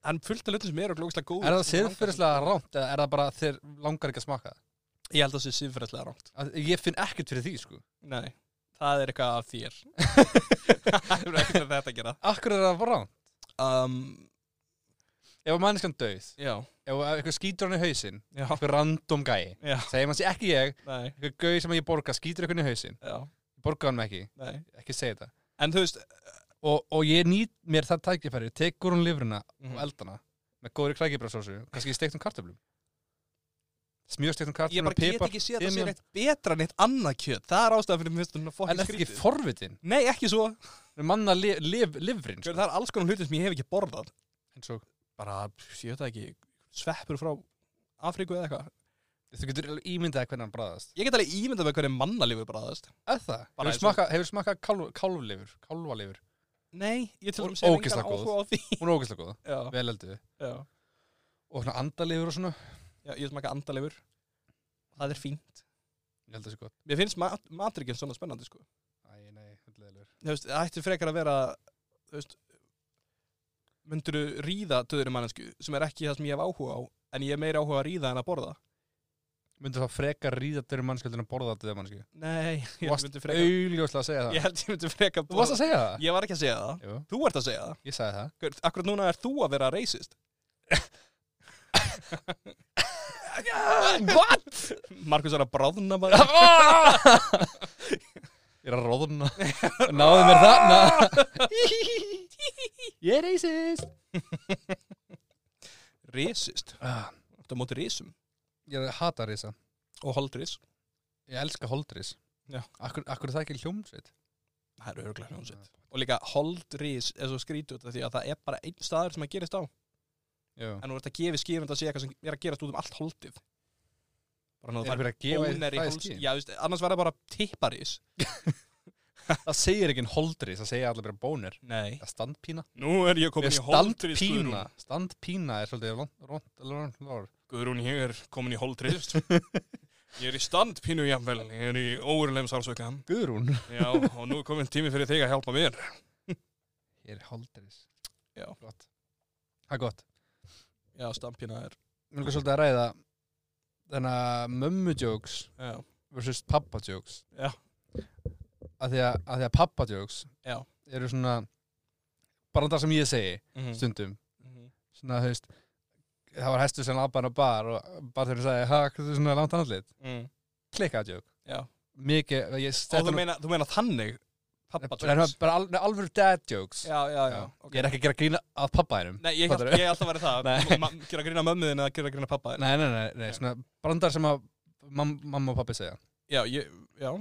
Speaker 1: Hann fullt af hlutum sem eru glókslega góð
Speaker 2: er það siðferðislega rámt eða er það bara þeir langar ekki að smaka það?
Speaker 1: Ég held að það sé siðferðislega rámt
Speaker 2: Af því ég finn ekkert fyrir því sko
Speaker 1: Nei, það er eitthvað af þér Það er ekkert að þetta að gera
Speaker 2: akkur er það bara rámt
Speaker 1: um,
Speaker 2: ef að mannskan döið
Speaker 1: Já,
Speaker 2: ef að eitthvað skýtur hann í hausinn
Speaker 1: já,
Speaker 2: eitthvað random gæi
Speaker 1: já,
Speaker 2: segir mann sé ekki ég
Speaker 1: nei,
Speaker 2: eitthvað gauð sem ég borga skýtur eitthvað í hausinn
Speaker 1: já,
Speaker 2: borga hann mig ekki
Speaker 1: nei
Speaker 2: ekki segja þetta
Speaker 1: En þú veist
Speaker 2: og, og ég nýt mér það tækifæri tekur hún lifruna
Speaker 1: mhm.
Speaker 2: og eldana með góðri krækibjörnsósu kannski steiktum kartöflum smjörsteiktum kartöflum
Speaker 1: Ég bara get ekki séð að það sé
Speaker 2: timian.
Speaker 1: neitt betra en eitt annað kjöt Það er ástæðan fyrir mér finnst þetta
Speaker 2: En
Speaker 1: fokkin
Speaker 2: eftir ekki
Speaker 1: skrítið
Speaker 2: forvitin
Speaker 1: Nei, ekki svo
Speaker 2: Manna li, liv, livrin
Speaker 1: Sko, það er alls konar hlutin sem ég hef ekki borðað
Speaker 2: En svo
Speaker 1: bara, ég veit það ekki, sveppur frá Afríku eða eitthvað
Speaker 2: Þú getur alveg ímyndað hvernig hann bræðast
Speaker 1: ég get alveg ímyndað með hvernig mannalífur bræðast
Speaker 2: Eða það?
Speaker 1: Bara eins
Speaker 2: Hefur
Speaker 1: og-
Speaker 2: smakað hefur smakað kálf, kálflifur Kálfalifur
Speaker 1: nei, ég til
Speaker 2: Og-
Speaker 1: dæmis hef engan
Speaker 2: ógeðslega góð.
Speaker 1: áhuga á því
Speaker 2: Hún er ógæslega góð
Speaker 1: já,
Speaker 2: Vel eldu
Speaker 1: já,
Speaker 2: Og svona andalifur og svona
Speaker 1: já, ég smaka andalífur það er fínt
Speaker 2: Ég held að það sé gott
Speaker 1: mér finnst mat matrikinn svona spennandi sko
Speaker 2: Æ, nei, hundleðilur
Speaker 1: Þú veist, það ætti frekar að vera þú veist, myndirðu ríða döðurum mannesku sem er ekki það sem ég hef áhuga á en ég hef meira áhuga að ríða en að borða
Speaker 2: Myndu þá frekar ríða dyrri mannskjöldin að borða þetta mannskjö
Speaker 1: Nei,
Speaker 2: Þú
Speaker 1: ég
Speaker 2: varst
Speaker 1: myndi freka
Speaker 2: augljóslega að segja það
Speaker 1: Ég held ég myndi freka
Speaker 2: Þú varst að segja það?
Speaker 1: Ég var ekki að segja það
Speaker 2: Jú,
Speaker 1: Þú ert að segja það
Speaker 2: ég sagði það
Speaker 1: Gaur, Akkurat núna er þú að vera racist
Speaker 2: What?
Speaker 1: Markus er að bráðna bara Ah!
Speaker 2: Ég er að róðna Náðu mér þarna Ég er racist
Speaker 1: Racist
Speaker 2: Ah,
Speaker 1: Þetta móti risum
Speaker 2: Ég hata risa
Speaker 1: og holdris
Speaker 2: Ég elska holdris
Speaker 1: Já.
Speaker 2: Akkur, akkur er það ekki hljómsveit
Speaker 1: Það eru örgulega hljómsveit Og líka holdris er svo skrítið út af því að það er bara einn staður sem að gerist á
Speaker 2: Já.
Speaker 1: en nú er þetta gefið skýrund að sé eitthvað sem er að gerast út um allt holdið bara
Speaker 2: Er
Speaker 1: náðu
Speaker 2: það
Speaker 1: það
Speaker 2: að gefa
Speaker 1: bóneri
Speaker 2: það í
Speaker 1: hols
Speaker 2: skín?
Speaker 1: já, þú veist, annars var það bara tipparis
Speaker 2: Það segir ekki holdris, það segir allir bara bónir
Speaker 1: nei,
Speaker 2: Það er standpína
Speaker 1: nú er ég komin
Speaker 2: Ég
Speaker 1: í holdris
Speaker 2: standpína Standpína er svolítið lont, lont, lont, lont.
Speaker 1: Guðrún, ég er komin í holdris ég er í standpínu jafnvel ég er í óurleim sársöka
Speaker 2: Guðrún
Speaker 1: já, og nú er komin tími fyrir þig að hjálpa mér
Speaker 2: Ég er holdris
Speaker 1: Já.
Speaker 2: Gott Það er gott
Speaker 1: já, standpína er
Speaker 2: Mér lukkar svolítið að ræða Þannig að mömmu jokes
Speaker 1: já,
Speaker 2: versus pappa jokes
Speaker 1: Já.
Speaker 2: að því að, að, því að pappa jokes
Speaker 1: Já.
Speaker 2: eru svona bara það sem ég segi
Speaker 1: mhm,
Speaker 2: stundum
Speaker 1: mhm.
Speaker 2: svona þú veist það var hæstu sem labbaðan á bar og barþjóðin sagði ha, hvað er svona langt andlit
Speaker 1: Mm,
Speaker 2: klikka joke
Speaker 1: já
Speaker 2: mikið ég
Speaker 1: og þú
Speaker 2: stætti
Speaker 1: meina, þú meina þannig pappa jokes
Speaker 2: bara al, nei, alvöru dad jokes
Speaker 1: já, já, já,
Speaker 2: ég
Speaker 1: okay.
Speaker 2: er ekki að gera grína að pappa hennum
Speaker 1: nei, ég hef
Speaker 2: Fattarðu?
Speaker 1: alltaf verið það
Speaker 2: Nei.
Speaker 1: Ma- gera grína mömmuðin eða gera grína pappa
Speaker 2: nei, nei, nei, nei, svona brandar sem að mam, mamma og pappi segja
Speaker 1: já, ég, já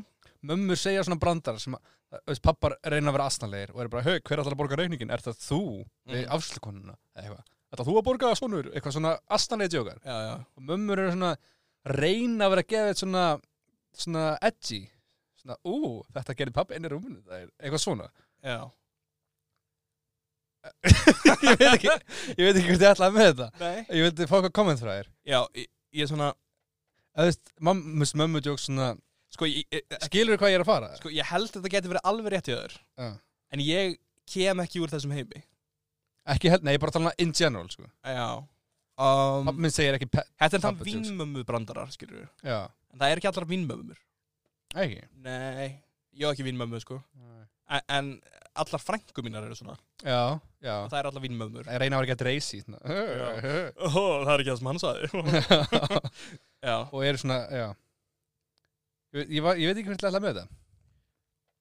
Speaker 2: mömmur segja svona brandar sem að, þú veist, pappar reyna að vera astanlegir og eru bara, hei, hver ætlar að borga reyningin? Er það þú? Mm.
Speaker 1: Mhm.
Speaker 2: Afslukonuna? Eða eitthvað. Ætlar þú að borga það svonur? Eitthvað svona astanlegir djókar.
Speaker 1: já, já
Speaker 2: Og mömmur eru svona, reyna að vera að gefa þetta svona, svona edgy. Svona, ú, þetta gerir pappi inn í rúminu. Það er eitthvað svona.
Speaker 1: Já.
Speaker 2: ég veit ekki, ég veit ekki hvort ég ætlaði með þetta.
Speaker 1: Nei.
Speaker 2: Ég vildi fá eitthvað komment frá þér.
Speaker 1: Já, ég, ég er svona,
Speaker 2: Eða, þú veist, mam- þú veist, mömmu djók svona,
Speaker 1: sko ég, ég,
Speaker 2: skilur hvað ég er að fara?
Speaker 1: sko, ég held að þetta geti verið alveg rétt í öður,
Speaker 2: Já.
Speaker 1: en ég kem ekki úr þessum heimi.
Speaker 2: Ekki held, nei, ég er bara að tala in general, sko.
Speaker 1: Já. Um,
Speaker 2: Pappi minn segir ekki, pe-
Speaker 1: þetta er þann
Speaker 2: Pabbi Jokes.
Speaker 1: vínmömmu brandarar, skilur við.
Speaker 2: já,
Speaker 1: En það er ekki allar vínmömmur.
Speaker 2: ekki.
Speaker 1: Nei, ég er ekki vínmömmu, sko. En, en allar frængu mínar eru svona.
Speaker 2: Já, já.
Speaker 1: Og það er allar vínmömmur.
Speaker 2: Ég reyna að vera ekki að dreysi svona.
Speaker 1: Ó, það er ekki það sem hann sagði. já.
Speaker 2: og eru svona, já. Ég, veit- ég, var, ég veit ekki hvernig alltaf með þetta.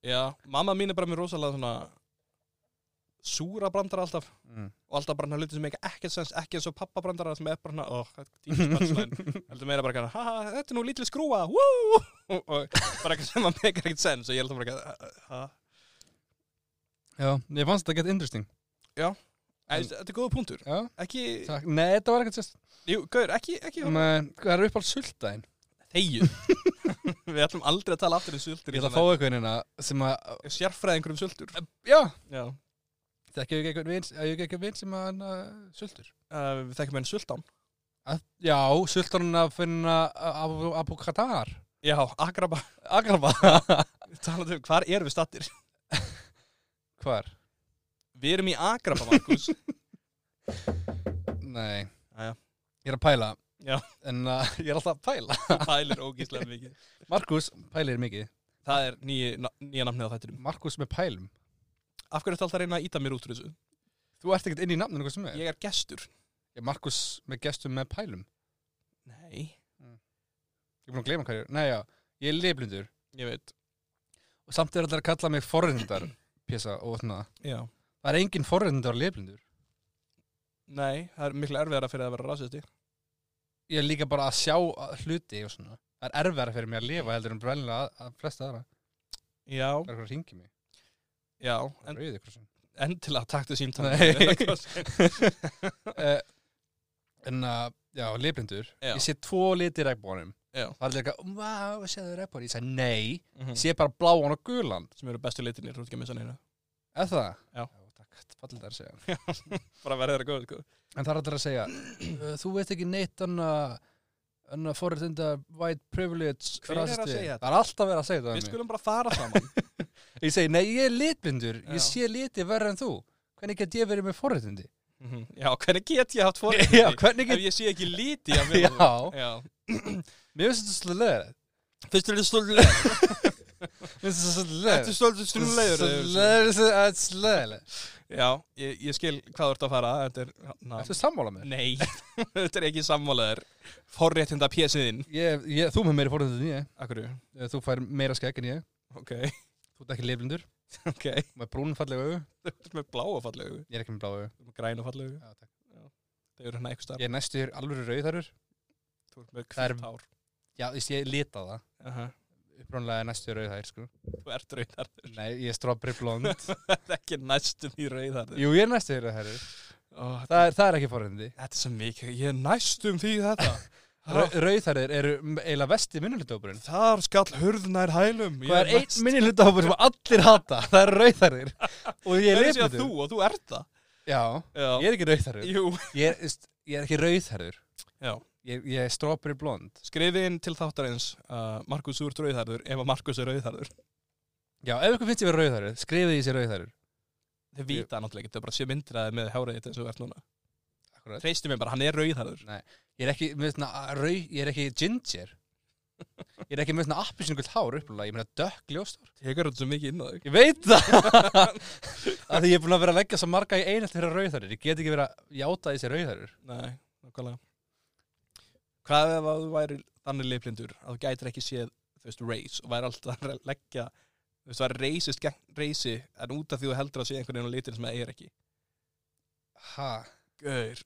Speaker 1: Já. Mamma mín er bara með rosalega svona súra brandara alltaf.
Speaker 2: Mm.
Speaker 1: og alltaf bara hluti sem ekki ekkert sens, ekki eins og pappabrandara sem er bara hana, oh, tímisbarnslæn, heldur meira bara hana, haha, þetta er nú lítil skrúa, woo, og, og bara eitthvað sem að meikar ekkert sens og ég held að bara ekki að,
Speaker 2: Já, ég fannst þetta gett interesting.
Speaker 1: þetta er góða punktur,
Speaker 2: Já,
Speaker 1: ekki,
Speaker 2: takk. Nei, þetta var ekkert Um, sérst.
Speaker 1: jú, gaur, ekki, ekki,
Speaker 2: Men, Hvað er upp á sultaðin?
Speaker 1: þegju, við ætlum aldrei að tala aftur um sultur,
Speaker 2: Ég ætla að fá eitthvað einina sem að,
Speaker 1: sérfræðingur um sultur,
Speaker 2: já,
Speaker 1: já, uh,
Speaker 2: þekki ég eitthvað vins, ég ekki eitthvað vins sem að hann uh, sultur.
Speaker 1: Eh, við þekkum enn sultán,
Speaker 2: Að, já, sultarinn að finna eh, Abu Qatar.
Speaker 1: já, agraba,
Speaker 2: Agraba.
Speaker 1: talaðu, um, hvar erum við stattir?
Speaker 2: Hvar?
Speaker 1: Við erum í agraba, Markus,
Speaker 2: Nei.
Speaker 1: Jæja.
Speaker 2: Ég er að pæla.
Speaker 1: Já.
Speaker 2: En uh, ég er alltaf að pæla.
Speaker 1: pælir ógíslega mikið,
Speaker 2: Markus pælir mikið.
Speaker 1: það er nýja, nýja nafnið á þættinum.
Speaker 2: Markus með pælum.
Speaker 1: Af hverju ertu alltaf að reyna að íta mér út úr þessu?
Speaker 2: Þú ert ekkert inn í nafninu hvað sem er.
Speaker 1: Ég er gestur.
Speaker 2: Ég er Markus með gestum með pælum.
Speaker 1: Nei.
Speaker 2: Ég er búin að gleyma hverju. Nei, já. Ég er leiflindur.
Speaker 1: Ég veit.
Speaker 2: Og samt er allir að kalla mig forrindar pjesa og svona.
Speaker 1: Já.
Speaker 2: Það er engin forrindar leiflindur.
Speaker 1: Nei, það er miklu erfiðara fyrir að vera rasisti.
Speaker 2: Ég er líka bara að sjá að- hluti og svona. Það er erfæra fyrir mig að lifa heldur en brennilega að, að flesta aðra.
Speaker 1: Já.
Speaker 2: Það er eitthvað að ringi mig.
Speaker 1: Já.
Speaker 2: En,
Speaker 1: En,
Speaker 2: Rauði, eitthvað svona.
Speaker 1: endilega taktu símtana.
Speaker 2: Nei. Eh, en uh, já, leiflindur.
Speaker 1: Já.
Speaker 2: Ég sé tvo liti regnbónum.
Speaker 1: Já.
Speaker 2: Það er líka, wow, séðu regnbónum. Ég sagði, nei.
Speaker 1: Mhm.
Speaker 2: Ég sé bara bláan og gulan.
Speaker 1: Sem eru bestu litinir, þú ert ekki að missa neina.
Speaker 2: Er það?
Speaker 1: Já.
Speaker 2: takk, fallið það er að segja.
Speaker 1: Bara verður það góð, sko.
Speaker 2: En það er allir að segja, "Uh, þú veist ekki neitt annað annað forréttinda white privilege
Speaker 1: Hver er að
Speaker 2: rasisti."
Speaker 1: segja þetta?
Speaker 2: Það er alltaf verið að segja þetta
Speaker 1: Við
Speaker 2: við mig.
Speaker 1: skulum bara fara saman.
Speaker 2: Ég segi, nei, ég er litblindur,
Speaker 1: Já.
Speaker 2: ég sé liti verra en þú. Hvernig get ég verið með forréttindi?
Speaker 1: Mhm. Já, hvernig get ég haft fórið
Speaker 2: Já, hvernig
Speaker 1: Ef
Speaker 2: get
Speaker 1: ég sé ekki líti af
Speaker 2: Já,
Speaker 1: mér Já
Speaker 2: mér finnst þetta svolítið leður
Speaker 1: Fyrstu er svolítið leður
Speaker 2: Mér finnst
Speaker 1: Þetta er
Speaker 2: þetta svolítið leður
Speaker 1: svolítið svolítið leður
Speaker 2: Leður þetta leður
Speaker 1: Já, ég, ég skil hvað þú ert að fara Þetta er, na,
Speaker 2: Ertu sammála með?
Speaker 1: Nei, þetta er ekki sammálaður Forréttinda pjesiðin
Speaker 2: Ég, ég, þú með meiri fórhundin en ég
Speaker 1: Akkur,
Speaker 2: Eh, Þú fær meira skegg en ég
Speaker 1: ok,
Speaker 2: Þú ert ekki leiflindur
Speaker 1: ok
Speaker 2: Þú er brún fallega augu
Speaker 1: Þetta er með bláa fallegu,
Speaker 2: Ég er ekki með blá augu
Speaker 1: með græna fallegu
Speaker 2: Já, takk.
Speaker 1: Það eru hérna eitthvað starf
Speaker 2: Ég er næstu þér alvöru rauðarur
Speaker 1: Þú ert með
Speaker 2: Það er-
Speaker 1: hvitt hár
Speaker 2: Já, þú veist, ég lita það
Speaker 1: Aha.
Speaker 2: Upprónlega næstu þér rauðar, sko
Speaker 1: Þú ert rauðar
Speaker 2: Nei, ég er strawberry blond
Speaker 1: Þetta er ekki næstum í rauðar
Speaker 2: Jú, ég er næstu þér rauðarur
Speaker 1: Ó,
Speaker 2: það, er- það er ekki fórhundi
Speaker 1: Þetta er svo mikið, ég er næstum því þetta Rau-
Speaker 2: Rauðarur eru m- eiginlega vesti minnulutahópurinn
Speaker 1: Þar skall hurðnær hælum
Speaker 2: Hvað er einn minnilutahópur sem allir hata? Það er rauðarðir Og ég
Speaker 1: Ég
Speaker 2: er
Speaker 1: lef
Speaker 2: leifnundur
Speaker 1: Þú og þú ert það
Speaker 2: Já, ég
Speaker 1: Já,
Speaker 2: er ekki rauðarður ég,
Speaker 1: jú
Speaker 2: er, veist, ég er ekki rauðarður
Speaker 1: Já.
Speaker 2: ég, ég er strawberry blond
Speaker 1: Skriði inn til þáttarins uh, Markus úr rauðarður ef að Markus er rauðarður
Speaker 2: Já, ef ykkur finnst ég verið rauðarður, skrifið ég sér rauðarður
Speaker 1: Þau vita það náttúrulega ekki, þau bara sé myndraði með háriðið eins og þú ert núna
Speaker 2: Akkurat
Speaker 1: Treystu mér bara, hann er rauðarður
Speaker 2: Ég er ekki, með svona, að- rauð, ég er ekki ginger Ég er ekki með svona appisnugult hár upplulega Ég meina dökk ljóstór
Speaker 1: Tekur þetta svo mikið inn á þig
Speaker 2: Ég veit það Af því ég er búin að vera að leggja svo marga í einhelt fyrir rauðarður Ég get ekki verið að játa þessi rauðarður
Speaker 1: Nei, nákvæmlega Hvað ef að þú væri þannig leiflindur að þú gætir ekki séð, þú veist, race og væri alltaf að leggja þú veist, það er reisist gegn reisi en út af því þú heldur að sé einhvern veginn á litin sem það er ekki
Speaker 2: Ha?
Speaker 1: Gaur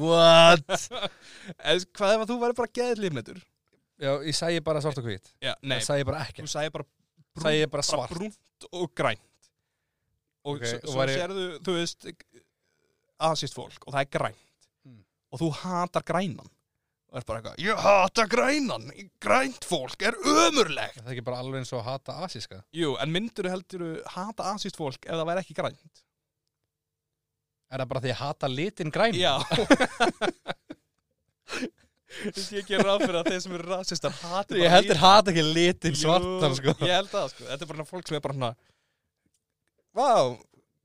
Speaker 2: What?
Speaker 1: En hvað ef að þú væri bara geðið leiflindur?
Speaker 2: Já, ég sæi bara svart og hvít
Speaker 1: Já, nei,
Speaker 2: Það sæi bara ekkert
Speaker 1: þú sagði bara brún,
Speaker 2: Sæi ég bara
Speaker 1: bara
Speaker 2: svart
Speaker 1: brúnt og grænt og
Speaker 2: Ok,
Speaker 1: okay,
Speaker 2: og
Speaker 1: svo
Speaker 2: væri-
Speaker 1: sérðu, þú veist aðsýst fólk og það er grænt
Speaker 2: Mm.
Speaker 1: og þú hatar grænan og er bara eitthvað, ég hata grænan grænt fólk er ömurlegt
Speaker 2: Er Það er ekki bara alveg eins og að hata asíska
Speaker 1: Jú, en myndur heldur hata aðsýst fólk ef það væri ekki grænt
Speaker 2: Er það bara því að hata litin græn?
Speaker 1: Já Þess ég ger ráð fyrir að þeir sem eru rasistar hati bara
Speaker 2: Ég heldur
Speaker 1: lit-
Speaker 2: hata ekki litin
Speaker 1: Jú,
Speaker 2: svartan sko
Speaker 1: Ég held það sko, þetta er bara svona fólk sem er bara svona Vá,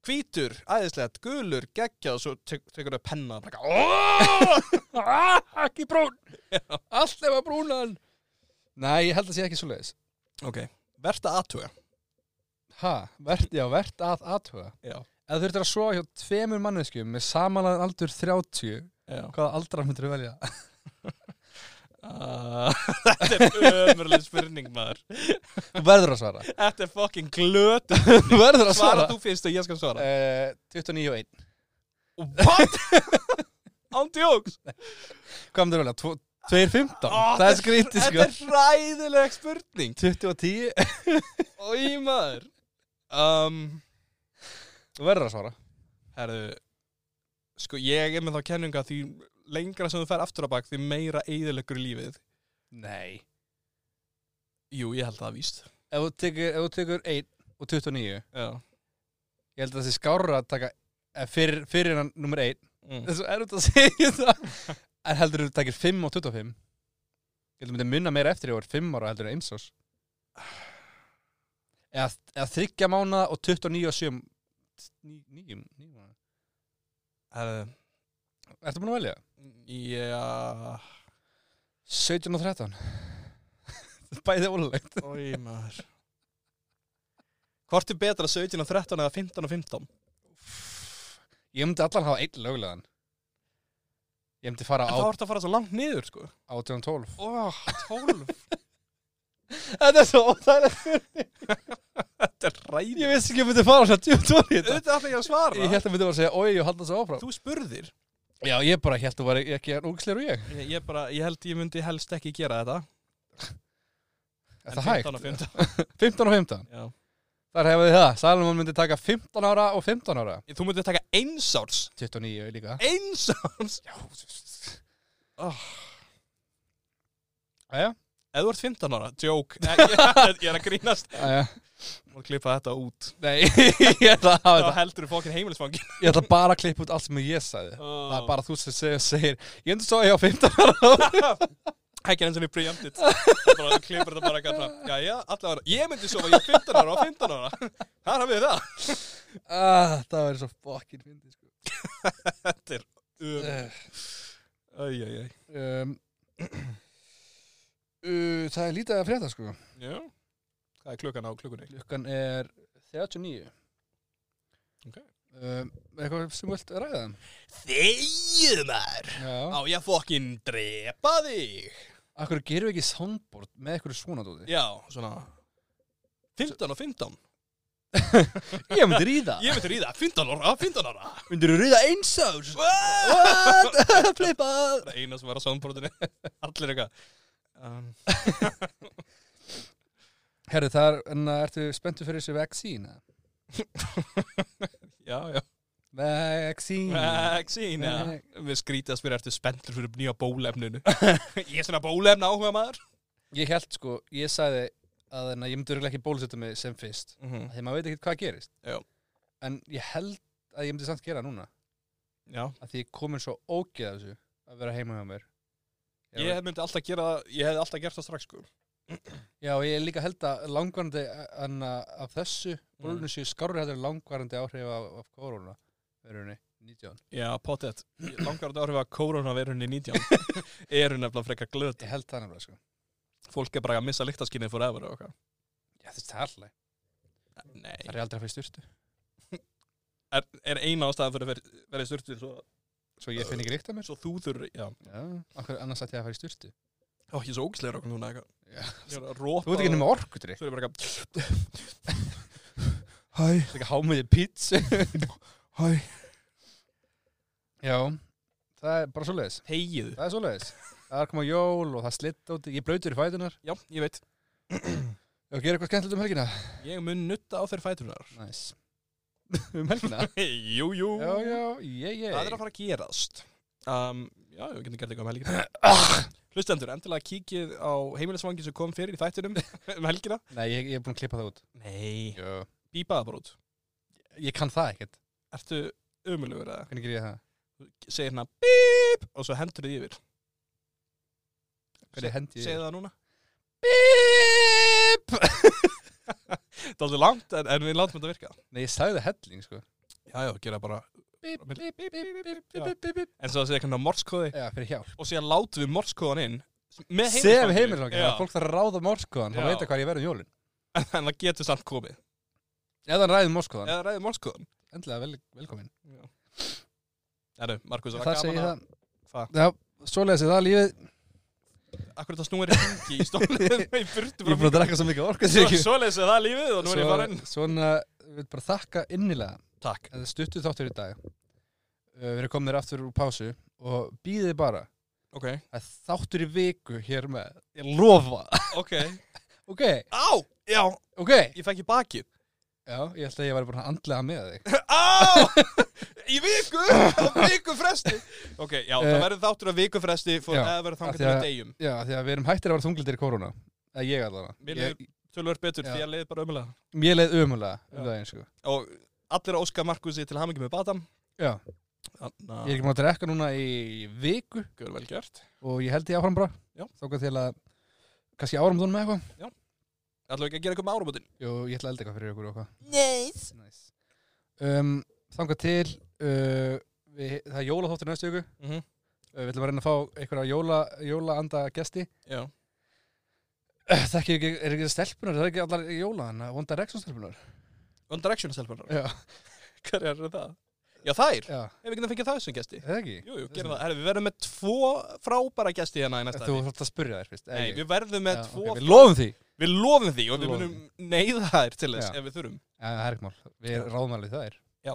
Speaker 1: hvítur, æðislegt, gulur, geggjað og svo tek, tekur þau penna og bara
Speaker 2: Ah, Ekki brún Allt ef að brúnan Nei, ég held að sé ekki svo leiðis
Speaker 1: Ok, verðt að aðtuga
Speaker 2: Ha, vert, já, vert að aðhuga
Speaker 1: Já,
Speaker 2: Ef þú þurftir að sofa hjá tveimur manneskjum með samanlæðan aldur 30
Speaker 1: já
Speaker 2: Hvaða aldra myndir þú velja?
Speaker 1: Þetta er ömurleg spurning maður
Speaker 2: Þú verður að svara
Speaker 1: Þetta er fucking glöt
Speaker 2: Þú verður að svara
Speaker 1: Svara þú fyrst og ég skal svara
Speaker 2: Eh, 29 og 1
Speaker 1: What? Ándjóks
Speaker 2: Hvað myndir þú velja? Tvo- 2.15?
Speaker 1: Ó,
Speaker 2: það er skrítið sko
Speaker 1: Þetta er hræðileg spurning
Speaker 2: 20 og 10
Speaker 1: Í maður um,
Speaker 2: Þú verður að svara
Speaker 1: Herðu, sko ég er með þá kenninga því lengra sem þú fer aftur á bak því meira eðilegur lífið.
Speaker 2: Nei
Speaker 1: Jú, ég held það að víst.
Speaker 2: ef þú tekur, ef þú tekur 1 og 29
Speaker 1: Já.
Speaker 2: ég held að það sé skárra að taka eh, fyrir, fyrir hann nummer 1
Speaker 1: Mm.
Speaker 2: þessu er út að segja það en heldur þú takir 5 og 25 ég held að myndi munna meira eftir ég voru 5 ára heldur en eins árs eða, eða þryggja mánuða og 29 og 7 9 mánuða
Speaker 1: Herðu,
Speaker 2: Ertu búin að velja?
Speaker 1: já,
Speaker 2: 17 og 13 Bæðið ólulegt
Speaker 1: oi maður. Hvort er betra 17 og 13 eða 15 og 15?
Speaker 2: Ég myndi allan hafa einn löglegan Ég myndi fara
Speaker 1: En
Speaker 2: á
Speaker 1: þá ertu að fara svo langt niður, sko.
Speaker 2: 18 og 12
Speaker 1: Ó, 12.
Speaker 2: Þetta er svo óþægilegt
Speaker 1: Þetta er ræðið.
Speaker 2: Ég vissi ekki að ég myndi fara svona djúpt orðið í þetta
Speaker 1: Þetta ætla ég að svara.
Speaker 2: Ég held að myndi bara að segja oi og halda þessu áfram
Speaker 1: Þú spurðir.
Speaker 2: Já, ég bara held að þú væri ekki en úksleir og ég
Speaker 1: Ég, ég, bara, ég held ég myndi helst ekki gera þetta.
Speaker 2: Er
Speaker 1: En
Speaker 2: það hægt?
Speaker 1: 15 og 15.
Speaker 2: 15 og 15
Speaker 1: Já.
Speaker 2: Þar hefði þið það Salomon myndi taka 15 ára og 15 ára
Speaker 1: Þú myndi taka einsárs.
Speaker 2: 29 líka Ah.
Speaker 1: Einsárs?
Speaker 2: Já, Ah.
Speaker 1: Ef þú ert 15 ára, joke Nei, ég, ég er að grínast
Speaker 2: Æja
Speaker 1: og klippa þetta út
Speaker 2: Nei, ég ætla að hafa
Speaker 1: Þá
Speaker 2: þetta
Speaker 1: heldur þú fókin heimilisfangi
Speaker 2: Ég ætla bara að klippa út allt sem ég sagði Það
Speaker 1: Ah.
Speaker 2: er bara þú sem segir, segir Ég endur svo að ég á 15 ára
Speaker 1: Ekki eins og niður preempted Það bara þú klippir þetta bara eitthvað fram Jæja, allavega Ég myndi sofa, ég er 15 ára og 15 ára Þar hafið þið það
Speaker 2: ah, Það væri svo fokkin fyndi sko.
Speaker 1: Þetta er ömurlegt.
Speaker 2: uh,
Speaker 1: Æj, æj, æj.
Speaker 2: um, uh, Það er lítið að frétta sko
Speaker 1: Já. Hvað er klukkan á klukkunni?
Speaker 2: Klukkan er 39
Speaker 1: Ok.
Speaker 2: um, Eitthvað sem þú vilt ræða
Speaker 1: Þegið maður! Á
Speaker 2: Já
Speaker 1: ég að fokkin drepa þig!
Speaker 2: Akkur gerum við ekki soundboard með eitthvað svona dóti
Speaker 1: Já, svona 15 og 15
Speaker 2: Ég myndi ríða
Speaker 1: Ég veitur í það, 15 ára, 15 ára
Speaker 2: Myndir þú ríða eins ás
Speaker 1: Það
Speaker 2: What? Flippað
Speaker 1: er eina sem var á soundboardinu Allir eitthvað um,
Speaker 2: Herru, þar, en að ertu spenntu fyrir þessu vaccine?
Speaker 1: Já, já
Speaker 2: Vaccine
Speaker 1: Vaccine, já
Speaker 2: Vac-
Speaker 1: Við skrítið að spyrja eftir spenntur fyrir nýja bólefninu Ég er svona bólefn áhuga maður
Speaker 2: Ég held sko, ég sagði að en, ég myndi örugglega ekki bólusetja mig sem fyrst
Speaker 1: Mhm.
Speaker 2: Þegar maður veit ekkert hvað gerist
Speaker 1: Já.
Speaker 2: En ég held að ég myndi samt gera það núna
Speaker 1: Já
Speaker 2: að því ég komin svo ógeð af þessu að vera heima hjá mér Já, Mm.
Speaker 1: Ég myndi alltaf gera það, ég hef alltaf gert það strax sko
Speaker 2: Já, og ég er líka held að langvarandi anna, af þessu bólunum séu skárri hættur langvarandi áhrif af, af korona verunni 19.
Speaker 1: Já, pottet Langar að áhrifa koronaverunni 19 Eru nefnilega frekar glöð
Speaker 2: Ég held það nefnilega sko.
Speaker 1: Fólk er bara að missa lyktaskinnið fór efer og eitthvað
Speaker 2: Já, þetta er alltaf.
Speaker 1: Nei
Speaker 2: Það er aldrei að fæ styrtu.
Speaker 1: er, er eina ástæðan fyrir að ver- vera í sturtu svo,
Speaker 2: Svo ég finn ekki ríkt af mér. sko.
Speaker 1: svo þúður, já
Speaker 2: Já, okkur annars ætti ég að fæ styrtu.
Speaker 1: Ó, ég er svo ógislega okkur núna eitthvað
Speaker 2: Já.
Speaker 1: Ég er að rópa
Speaker 2: Þú veit ekki nema orkutri.
Speaker 1: Svo er ég bara eitthvað
Speaker 2: Hæ. Það er ekki hámiði pítsu. Hæ. Já, það er bara svo leiðis.
Speaker 1: Hegið
Speaker 2: Það er svo leiðis. Það er að koma jól og það slitt átti. Ég blöytur í fætunar.
Speaker 1: Já, ég veit
Speaker 2: Ég gera eitthvað skemmtilegt um helgina.
Speaker 1: Ég mun nutta á þeir fætunar
Speaker 2: Næs. um helgina?
Speaker 1: Jú, jú
Speaker 2: já, já, ég, ég.
Speaker 1: Það er að fara að gerast um, Já, við getum gert eitthvað um helgina Hlustendur, endilega kíkið á heimilisvangi sem kom fyrir í þættinum um helgina
Speaker 2: Nei, ég, ég er búin að klippa það út.
Speaker 1: Nei
Speaker 2: Jó.
Speaker 1: Bípaða bara út
Speaker 2: Ég kann það ekkert.
Speaker 1: Ertu umulugur eða?
Speaker 2: Hvernig ger ég það?
Speaker 1: Segir hérna bíp og svo hendur þið yfir
Speaker 2: Hvernig hendi ég?
Speaker 1: Segir það núna?
Speaker 2: Bíp!
Speaker 1: Það er aldrei langt en, en við látum þetta virka
Speaker 2: Nei, ég sagði það helling, sko.
Speaker 1: Já, já, gera bara
Speaker 2: Bíp,
Speaker 1: bíp,
Speaker 2: bíp, bíp, bíp, bíp,
Speaker 1: bíp,
Speaker 2: bíp, bíp, bíp.
Speaker 1: En svo það segja hvernig á morskóði
Speaker 2: Já, fyrir hjálp.
Speaker 1: Og síðan látum við morskóðan inn Með
Speaker 2: Sem
Speaker 1: heimilisfanginu.
Speaker 2: heimilsvangir,
Speaker 1: Já,
Speaker 2: að fólk þarf að ráða morskoðan, þá
Speaker 1: Já.
Speaker 2: veit að hvað ég verið um jólin.
Speaker 1: En það getur samt komið
Speaker 2: Eða hann ræði morskoðan,
Speaker 1: Eða ræðið morskóðan
Speaker 2: endilega vel, velkomin.
Speaker 1: Erðu, Markus, það
Speaker 2: Það
Speaker 1: var
Speaker 2: segi
Speaker 1: gaman
Speaker 2: ég
Speaker 1: að
Speaker 2: það.
Speaker 1: Hvað?
Speaker 2: Já, svoleiðis er það lífið.
Speaker 1: Akkur þetta snúir í hengi í stólunum Í burtu
Speaker 2: Ég er búin að drakka svo mikið orku,
Speaker 1: Svo leysið það er lífið og nú er ég farin
Speaker 2: Svona, við viljum bara þakka innilega
Speaker 1: Takk
Speaker 2: þetta er stuttu þáttur í dag uh, við erum komin þér aftur úr pásu og býðið bara
Speaker 1: Ok,
Speaker 2: að þáttur í viku hér með ég lofa
Speaker 1: ok
Speaker 2: ok,
Speaker 1: Á, já,
Speaker 2: ok já,
Speaker 1: ég fekk í bakið
Speaker 2: ég held að ég væri bara að andlega með þig
Speaker 1: Á, í viku Á viku fresti Ok, já, það
Speaker 2: Eh,
Speaker 1: verður þáttur að viku fresti Fór
Speaker 2: já,
Speaker 1: eða verður
Speaker 2: af
Speaker 1: þangar
Speaker 2: því
Speaker 1: til
Speaker 2: að-
Speaker 1: að deyjum
Speaker 2: já, af því að við erum hættir að vera þunglindir í korona eða ég
Speaker 1: Mér
Speaker 2: allavega ég,
Speaker 1: Tölvöld betur,
Speaker 2: Já.
Speaker 1: því að leiði bara ömulega
Speaker 2: mér leið umulega
Speaker 1: Já.
Speaker 2: um daginn sko
Speaker 1: og allir að óska Markusi til hamingi með batam
Speaker 2: já,
Speaker 1: Þannig
Speaker 2: ég er ekki maður að drekka núna í viku
Speaker 1: er vel gert
Speaker 2: og ég held ég áfram bara
Speaker 1: Já.
Speaker 2: þókað til að kannski áramdunum með eitthvað
Speaker 1: Ætlum við ekki að gera eitthvað með áramótin
Speaker 2: Jú, ég ætla að elda eitthvað fyrir ykkur og eitthvað
Speaker 1: Neis
Speaker 2: nice. um, þangað til uh, við, það er jólaþóttur næstu viku
Speaker 1: mm -hmm.
Speaker 2: Uh, Við ætlum að reyna að fá einhverja jóla, jólaanda gesti.
Speaker 1: Já,
Speaker 2: Þekki ekki, er ekki stelpunar, það er ekki allar jóla, en One Direction stelpunar.
Speaker 1: One Direction stelpunar
Speaker 2: Já,
Speaker 1: Hver er það? Já þær,
Speaker 2: já,
Speaker 1: ef við getum fengið það sem gesti
Speaker 2: það ekki.
Speaker 1: Jú, jú, gerum það Herri, Við verðum með tvo frábæra gesti hérna í næsta
Speaker 2: Þú
Speaker 1: þætti.
Speaker 2: þátt að spyrja þér fyrst.
Speaker 1: Nei, við verðum með
Speaker 2: Já,
Speaker 1: tvo
Speaker 2: ok,
Speaker 1: okay,
Speaker 2: Við lofum því.
Speaker 1: Við lofum því og við
Speaker 2: Lofum
Speaker 1: munum neyða þær til þess
Speaker 2: Já.
Speaker 1: ef við þurfum
Speaker 2: Já, það er ekki mál. Við ráðum alveg það er.
Speaker 1: Já.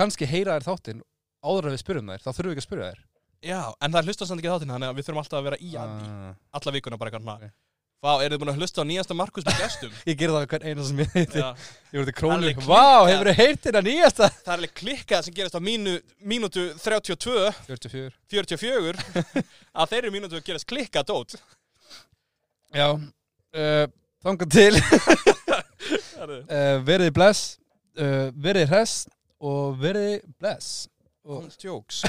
Speaker 2: Kanski heyra þér þáttinn áður en við spyrjum þær, þá þurfum við ekki að spyrja þér.
Speaker 1: Já, en það hlusta samt ekki á þáttina þannig að við þurfum alltaf að vera í að því
Speaker 2: Ah.
Speaker 1: Alla vikuna bara eitthvað svona
Speaker 2: Ok.
Speaker 1: Vá, eru þið búin að hlusta á nýjasta Markus með gestum?
Speaker 2: Ég gerði það hvern eina sem ég heiti.
Speaker 1: Já,
Speaker 2: Ég voru til
Speaker 1: Alveg
Speaker 2: krónu.
Speaker 1: klikkað.
Speaker 2: Vá, hefur þið heyrt þetta nýjasta?
Speaker 1: það er alveg klikkað sem gerist á mínu, mínútu 32
Speaker 2: 44.
Speaker 1: 44 að þeirri mínútu að gerast klikka dót
Speaker 2: Já, uh, þangað til. uh, verið bless uh, verið hress og verið bless og
Speaker 1: Hún stjóks